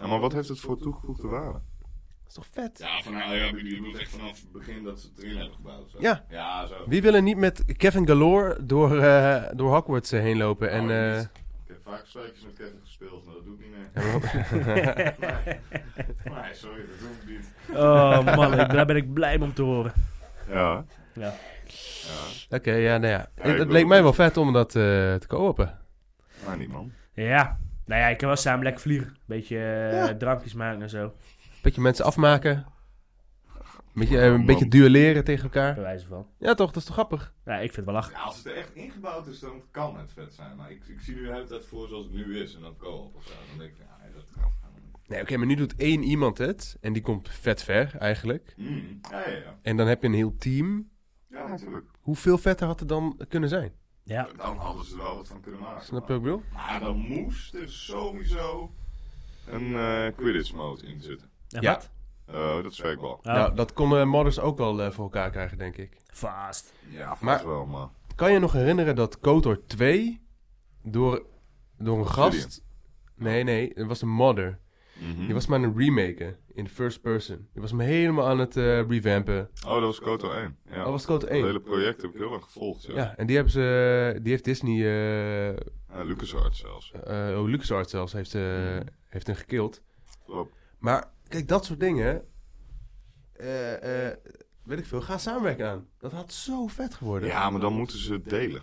Speaker 2: Ja, maar wat heeft het voor toegevoegde waarde?
Speaker 3: Dat is toch vet?
Speaker 2: Ja, van, nou, ja, je bedoelt echt vanaf het begin dat ze het erin hebben gebouwd. Zo.
Speaker 3: Ja.
Speaker 2: Ja, zo.
Speaker 3: Wie wil er niet met Kevin Galore door, eh, door Hogwarts eh, heen lopen? En,
Speaker 2: Oh,
Speaker 3: eh,
Speaker 2: niet. Ik heb vaak spelletjes met Kevin gespeeld, maar dat doe ik niet <laughs> meer. nee, sorry, dat doe ik niet.
Speaker 1: Oh man, ik- daar ben ik blij om te horen.
Speaker 2: Ja.
Speaker 1: Ja.
Speaker 3: Oké, ja, nou ja.
Speaker 2: Ja,
Speaker 3: Het-
Speaker 2: ik
Speaker 3: het
Speaker 2: wil-
Speaker 3: leek mij wel vet om dat eh, te kopen.
Speaker 2: Maar niet, man.
Speaker 1: ja, nou ja, ik kan wel samen lekker vliegen. Beetje eh, drankjes maken en zo,
Speaker 3: Beetje mensen afmaken. Beetje, eh,
Speaker 2: Man.
Speaker 3: een beetje duelleren tegen
Speaker 1: bij
Speaker 3: elkaar.
Speaker 1: wijze van.
Speaker 3: Ja, toch? Dat is toch grappig?
Speaker 1: Ja, ik vind het wel lachen.
Speaker 2: Ja, Nou, als het er echt ingebouwd is, dan kan het vet zijn. Maar ik, ik zie nu de hele tijd voor zoals het nu is en dan co-op of zo. Dan denk ik, ja, nee, dat kan helemaal niet.
Speaker 3: Nee, oké, maar nu doet één iemand het. En die komt vet ver, eigenlijk.
Speaker 2: Mm. Ja, ja, ja.
Speaker 3: En dan heb je een heel team.
Speaker 2: Ja, natuurlijk.
Speaker 3: Hoeveel vetter had het dan kunnen zijn?
Speaker 1: Ja,
Speaker 2: Dan hadden ze er wel wat van kunnen maken.
Speaker 3: Snap je wat ik bedoel?
Speaker 2: Maar dan moest er sowieso een eh, Quidditch mode in zitten.
Speaker 1: en
Speaker 3: Ja.
Speaker 1: wat?
Speaker 2: Eh, dat is wel.
Speaker 1: Oh,
Speaker 3: Nou, dat konden modders ook wel eh, voor elkaar krijgen, denk ik.
Speaker 1: Vast.
Speaker 2: Ja,
Speaker 3: Maar-
Speaker 2: vast wel, maar...
Speaker 3: Kan je nog herinneren dat Kotor 2 door, door een gast... Nee, nee, het was een modder.
Speaker 2: Hm? Mhm.
Speaker 3: Die was maar aan het remaken in de first person. Die was me helemaal aan het eh, revampen.
Speaker 2: Oh, dat was Koto 1. Ja.
Speaker 3: Dat Oh, was Kotor
Speaker 2: Het
Speaker 3: 1.
Speaker 2: hele project heb ik heel erg gevolgd, ja.
Speaker 3: Ja, en die, hebben ze, die heeft Disney... eh
Speaker 2: Eh, LucasArts zelfs.
Speaker 3: eh, oh, LucasArts zelfs heeft, eh,
Speaker 2: Hm.
Speaker 3: heeft hem gekild.
Speaker 2: Klopt.
Speaker 3: Maar kijk, dat soort dingen... eh, eh, weet ik veel, ga samenwerken aan. Dat had zo vet geworden.
Speaker 2: Ja, maar dan moeten ze het delen.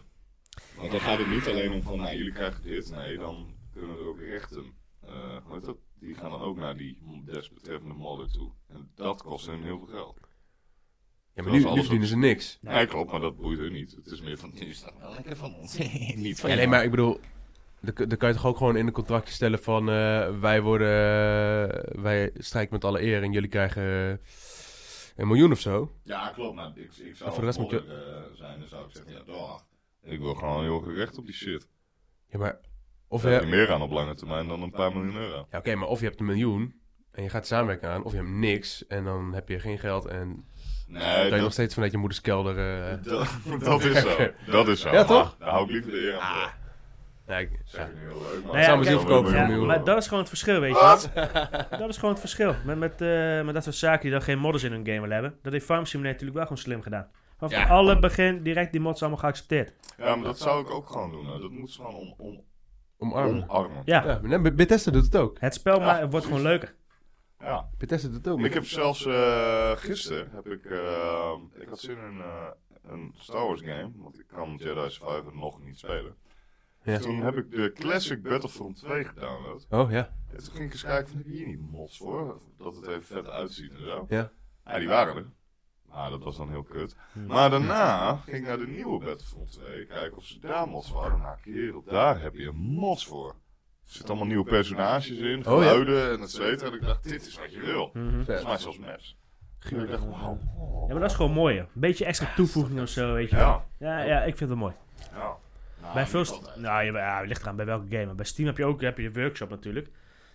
Speaker 2: Want dan gaat het niet alleen om van, nou, jullie krijgen dit. Nee, dan kunnen er ook rechten. eh, hoe heet dat? Die gaan dan ook naar die desbetreffende modder toe. En dat kost hun heel veel geld.
Speaker 3: Ja, maar nu,
Speaker 2: Zoals
Speaker 3: nu
Speaker 2: alles
Speaker 3: verdienen ze niks.
Speaker 2: Nee, klopt, maar dat boeit hun niet. Het is meer van, <laughs> nu is dat wel lekker van ons. <laughs> niet van
Speaker 3: Ja, nee, maar ik bedoel, dan kun- dan kan je toch ook gewoon in een contractje stellen van eh, wij worden, eh, wij strijken met alle eer en jullie krijgen eh, een miljoen of zo.
Speaker 2: Ja, klopt, maar ik, ik zou
Speaker 3: En voor de rest moet je-
Speaker 2: modder, eh, zijn, dan zou ik zeggen, ja, dag. Ik wil gewoon heel veel recht op die shit.
Speaker 3: Ja, maar of,
Speaker 2: Of
Speaker 3: je,
Speaker 2: heb
Speaker 3: ja,
Speaker 2: je meer aan op lange termijn dan een paar miljoen euro.
Speaker 3: oké, maar of je hebt een miljoen en je gaat samenwerken aan, of je hebt niks en dan heb je geen geld en
Speaker 2: Nee,
Speaker 3: dan ben je
Speaker 2: Eh, dat,
Speaker 3: nog steeds vanuit je moeders kelder. eh,
Speaker 2: dat, <laughs> Ah,
Speaker 3: <laughs>
Speaker 2: dat is zo. Dat is zo.
Speaker 3: Ja, toch?
Speaker 2: Daar hou ik liever de eer aan. voor.
Speaker 3: ja, ik-
Speaker 2: Dat is
Speaker 3: ja.
Speaker 2: echt heel leuk, maar...
Speaker 1: Nou ja,
Speaker 3: Samen
Speaker 1: kijk,
Speaker 3: zien verkopen voor
Speaker 1: ja,
Speaker 3: een miljoen.
Speaker 1: maar dat is gewoon het verschil, weet je.
Speaker 2: Wat?
Speaker 1: Dat is gewoon het verschil. Met, met, eh, met dat soort zaken die dan geen modders in hun game willen hebben. Dat heeft Farm Simulator natuurlijk wel gewoon slim gedaan. Vanaf
Speaker 3: Ja.
Speaker 1: het alle begin direct die mods allemaal geaccepteerd.
Speaker 2: Ja, maar dat zou ik ook gewoon doen. hè. Dat moet ze gewoon om, om,
Speaker 3: Omarmen.
Speaker 2: omarmen.
Speaker 1: Ja,
Speaker 3: Ja, maar nee, Bethesda doet het ook.
Speaker 1: het spel
Speaker 2: Ja,
Speaker 1: maar, wordt gewoon leuker.
Speaker 2: Ja.
Speaker 3: Bethesda doet het ook.
Speaker 2: Ik heb zelfs eh gisteren, heb ik, eh, ik had zin in eh, een Star Wars game, want ik kan Jedi Survivor nog niet spelen.
Speaker 3: Ja.
Speaker 2: Toen heb ik de Classic Battlefront 2 gedownload.
Speaker 3: Oh ja,
Speaker 2: En toen ging ik eens kijken van, heb je hier niet mods voor? Dat het even vet uitziet en zo.
Speaker 3: ja.
Speaker 2: Ja, die waren er. Maar dat was dan heel kut. Maar daarna ging ik naar de nieuwe Battlefront 2. Kijken of ze daar mods voor hadden. Nou, kerel, daar heb je mods voor. Er zitten allemaal nieuwe personages in,
Speaker 3: Oh, ja.
Speaker 2: geluiden en et cetera. En ik dacht, dit is wat je wil.
Speaker 3: Vet.
Speaker 2: Volgens mij zelfs mes. En ik dacht, wauw.
Speaker 1: Ja, maar dat is gewoon mooi. Een beetje extra toevoeging of zo, weet je. wel.
Speaker 2: Ja.
Speaker 1: Ja,
Speaker 3: Oh.
Speaker 1: ja, ik vind het
Speaker 3: Ah,
Speaker 1: mooi.
Speaker 2: ja. Nou,
Speaker 1: bij
Speaker 2: niet
Speaker 1: veel...
Speaker 2: altijd.
Speaker 1: Nou, ja, ja, ligt eraan bij welke game. Maar Bij Steam heb je ook heb je de workshop natuurlijk.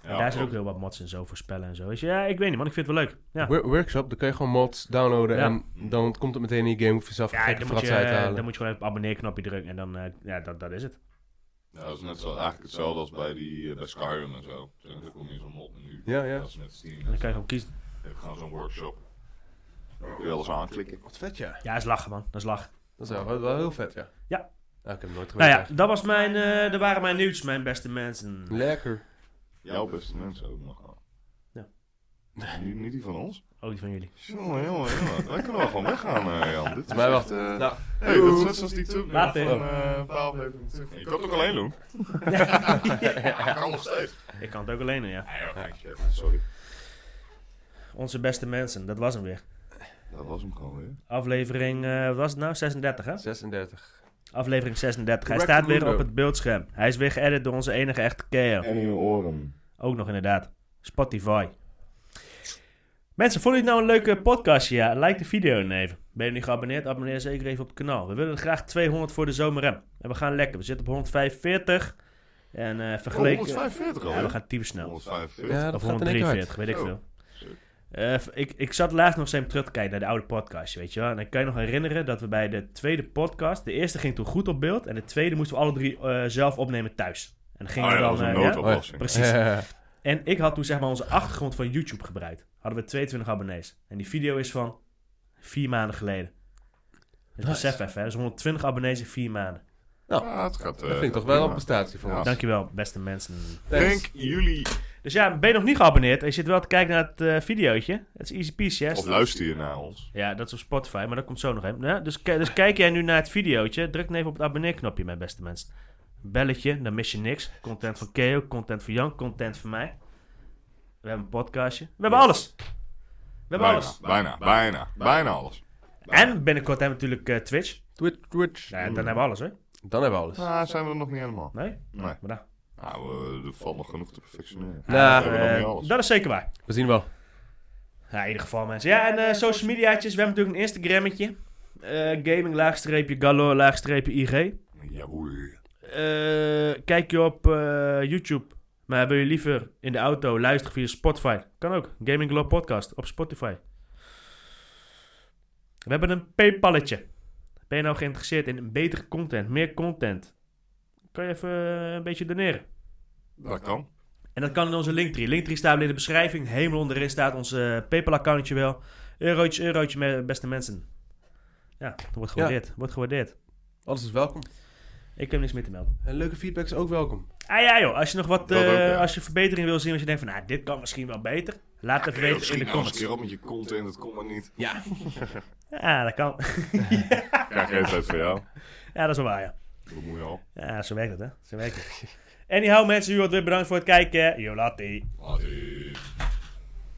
Speaker 1: en
Speaker 2: Ja,
Speaker 1: daar zit ook
Speaker 2: klopt.
Speaker 1: heel wat mods en zo voor spellen en zo. Dus ja, ik weet niet, man. Ik vind het wel leuk. Ja,
Speaker 3: Wor- Workshop, dan kan je gewoon mods downloaden
Speaker 1: Ja.
Speaker 3: en dan komt het meteen in je game, hoef je zelf geen
Speaker 1: ja dan,
Speaker 3: gekke
Speaker 1: moet je,
Speaker 3: fratsen uit te
Speaker 1: eh,
Speaker 3: halen.
Speaker 1: dan moet je gewoon even op abonneerknopje drukken. En dan, eh, ja, dat, dat is het.
Speaker 2: Ja, dat is net zo, eigenlijk hetzelfde als bij, die, eh, bij Skyrim en zo. Dan kom je zo'n mod menu.
Speaker 3: Ja, ja.
Speaker 2: Dat is met Steam.
Speaker 1: En dan kan je gewoon kiezen.
Speaker 2: Ik ga zo'n workshop. Dan kun je alles aanklikken.
Speaker 3: Wat vet, ja.
Speaker 1: Ja, is lachen, man. Dat is lachen.
Speaker 3: Dat is wel, wel heel vet, ja.
Speaker 1: Ja.
Speaker 3: Nou, ik heb hem nooit
Speaker 1: Nou
Speaker 3: gewerkt.
Speaker 1: ja, dat, was mijn, eh, dat waren mijn nieuws, mijn beste mensen.
Speaker 3: Lekker.
Speaker 2: Jouw beste mensen ook nog. Niet, niet die van ons.
Speaker 1: Ook die van jullie.
Speaker 2: Jongen, jongen, jongen. Wij kunnen wel gewoon weggaan, eh, Jan. Dit is
Speaker 3: Maar wacht.
Speaker 2: echt, eh,
Speaker 3: Nou,
Speaker 2: hey, dat is net zoals die toen.
Speaker 1: Later.
Speaker 2: Van, eh, een paar afleveringen terug. Je kan het ook alleen doen. Ja, kan nog steeds.
Speaker 1: Ik kan het ook alleen doen, ja.
Speaker 2: Nee, oké, shit, Sorry.
Speaker 1: Onze beste mensen, dat was hem weer.
Speaker 2: Dat was hem gewoon weer.
Speaker 1: Aflevering, eh, wat was het nou? 36, hè?
Speaker 3: 36.
Speaker 1: Aflevering 36. Hij
Speaker 3: Correct
Speaker 1: staat weer
Speaker 3: Mundo.
Speaker 1: op het beeldscherm. Hij is weer geëdit door onze enige echte KO.
Speaker 2: En in je oren.
Speaker 1: Ook nog inderdaad. Spotify. Mensen, vonden jullie het nou een leuke podcast? Ja, like de video dan even. Ben je nog niet geabonneerd? Abonneer zeker even op het kanaal. We willen er graag 200 voor de zomer hebben. En we gaan lekker. We zitten op 145. En eh
Speaker 2: Oh,
Speaker 1: vergeleken...
Speaker 2: 145 al.
Speaker 1: ja, we gaan typen snel.
Speaker 2: 145.
Speaker 3: Ja, dat
Speaker 1: Of
Speaker 3: gaat er niks uit.
Speaker 1: 143, weet ik
Speaker 2: Oh.
Speaker 1: veel. Eh, v- ik, ik zat laatst nog eens even terug te kijken naar de oude podcast, weet je wel. En dan kan je nog herinneren dat we bij de tweede podcast... De eerste ging toen goed op beeld. En de tweede moesten we alle drie eh, zelf opnemen thuis. En dan gingen
Speaker 2: Ah,
Speaker 1: we
Speaker 2: ja,
Speaker 1: dan...
Speaker 2: dat was een
Speaker 1: eh, ja?
Speaker 2: noodoplossing.
Speaker 1: Precies.
Speaker 2: Eh,
Speaker 3: Ja.
Speaker 1: En ik had toen zeg maar onze achtergrond van YouTube gebruikt. Hadden we 22 abonnees. En die video is van vier maanden geleden. Dus
Speaker 3: Nice.
Speaker 1: besef even, hè. Dus 120 abonnees in vier maanden.
Speaker 2: Ja, het gaat, eh,
Speaker 3: Dat vind ik toch
Speaker 2: gaat
Speaker 3: wel een
Speaker 2: prima.
Speaker 3: prestatie voor
Speaker 2: Ja.
Speaker 3: ons.
Speaker 1: Dankjewel, beste mensen.
Speaker 3: Thanks.
Speaker 2: Denk jullie,
Speaker 1: Dus ja, ben je nog niet geabonneerd en je zit wel te kijken naar het eh videootje. Het is easy peasy, hè?
Speaker 2: of luister je naar ons?
Speaker 1: Ja, dat is op Spotify, maar dat komt zo nog even. Ja, dus, ki- dus kijk jij nu naar het videootje, druk dan even op het abonneerknopje, mijn beste mensen. Belletje, dan mis je niks. Content van Keo, content van Jan, content van mij. We hebben een podcastje. We hebben alles. We hebben
Speaker 2: Bijna,
Speaker 1: alles.
Speaker 2: bijna, bijna, bijna alles.
Speaker 1: En binnenkort hebben we natuurlijk eh, Twitch.
Speaker 3: Twitch, Twitch.
Speaker 1: Nou ja, dan hebben we alles, hè?
Speaker 3: Dan hebben we alles.
Speaker 2: Ah, zijn we er nog niet helemaal.
Speaker 1: Nee?
Speaker 2: Nee.
Speaker 1: Maar nou,
Speaker 2: Nou, eh, er valt nog genoeg te perfectioneren.
Speaker 3: Nou,
Speaker 2: we hebben nog
Speaker 1: eh,
Speaker 2: niet alles.
Speaker 1: dat is zeker waar.
Speaker 3: We zien wel.
Speaker 1: Ja, in ieder geval, mensen. Ja, en eh, social mediaatjes. We hebben natuurlijk een Instagrammetje. Eh gaming, laagstreepje, galore, laagstreepje, IG.
Speaker 2: Jawohl.
Speaker 1: Eh, kijk je op eh, YouTube. Maar wil je liever in de auto luisteren via Spotify? Kan ook. Gaming Globe Podcast op Spotify. We hebben een Paypalletje. Ben je nou geïnteresseerd in betere content, meer content? Kan je even eh, een beetje doneren?
Speaker 2: Dat kan.
Speaker 1: En dat kan in onze Linktree. Linktree staat weer in de beschrijving. Helemaal onderin staat ons eh, PayPal-accountje wel. Eurotje, eurotje, me- beste mensen. Ja, dat wordt gewaardeerd. Wordt gewaardeerd.
Speaker 3: Alles is welkom.
Speaker 1: Ik heb niks meer te melden.
Speaker 3: En leuke feedback is ook welkom.
Speaker 1: Ah ja joh, als je nog wat,
Speaker 2: Dat ook,
Speaker 1: eh,
Speaker 2: ja.
Speaker 1: als je verbetering wil zien, als je denkt van, nou, dit kan misschien wel beter. Laat het even weten in de
Speaker 2: een
Speaker 1: comments.
Speaker 2: nou keer op met je content, dat komt maar niet.
Speaker 3: Ja.
Speaker 1: Ja, dat kan. <laughs>
Speaker 2: Krijg geen tijd voor jou.
Speaker 1: Ja, dat is wel waar, ja.
Speaker 2: Dat moet je al.
Speaker 1: Ja, zo werkt het, hè. Zo werkt het. Anyhow, mensen, jullie wat weer bedankt voor het kijken. Jolati.
Speaker 2: Later.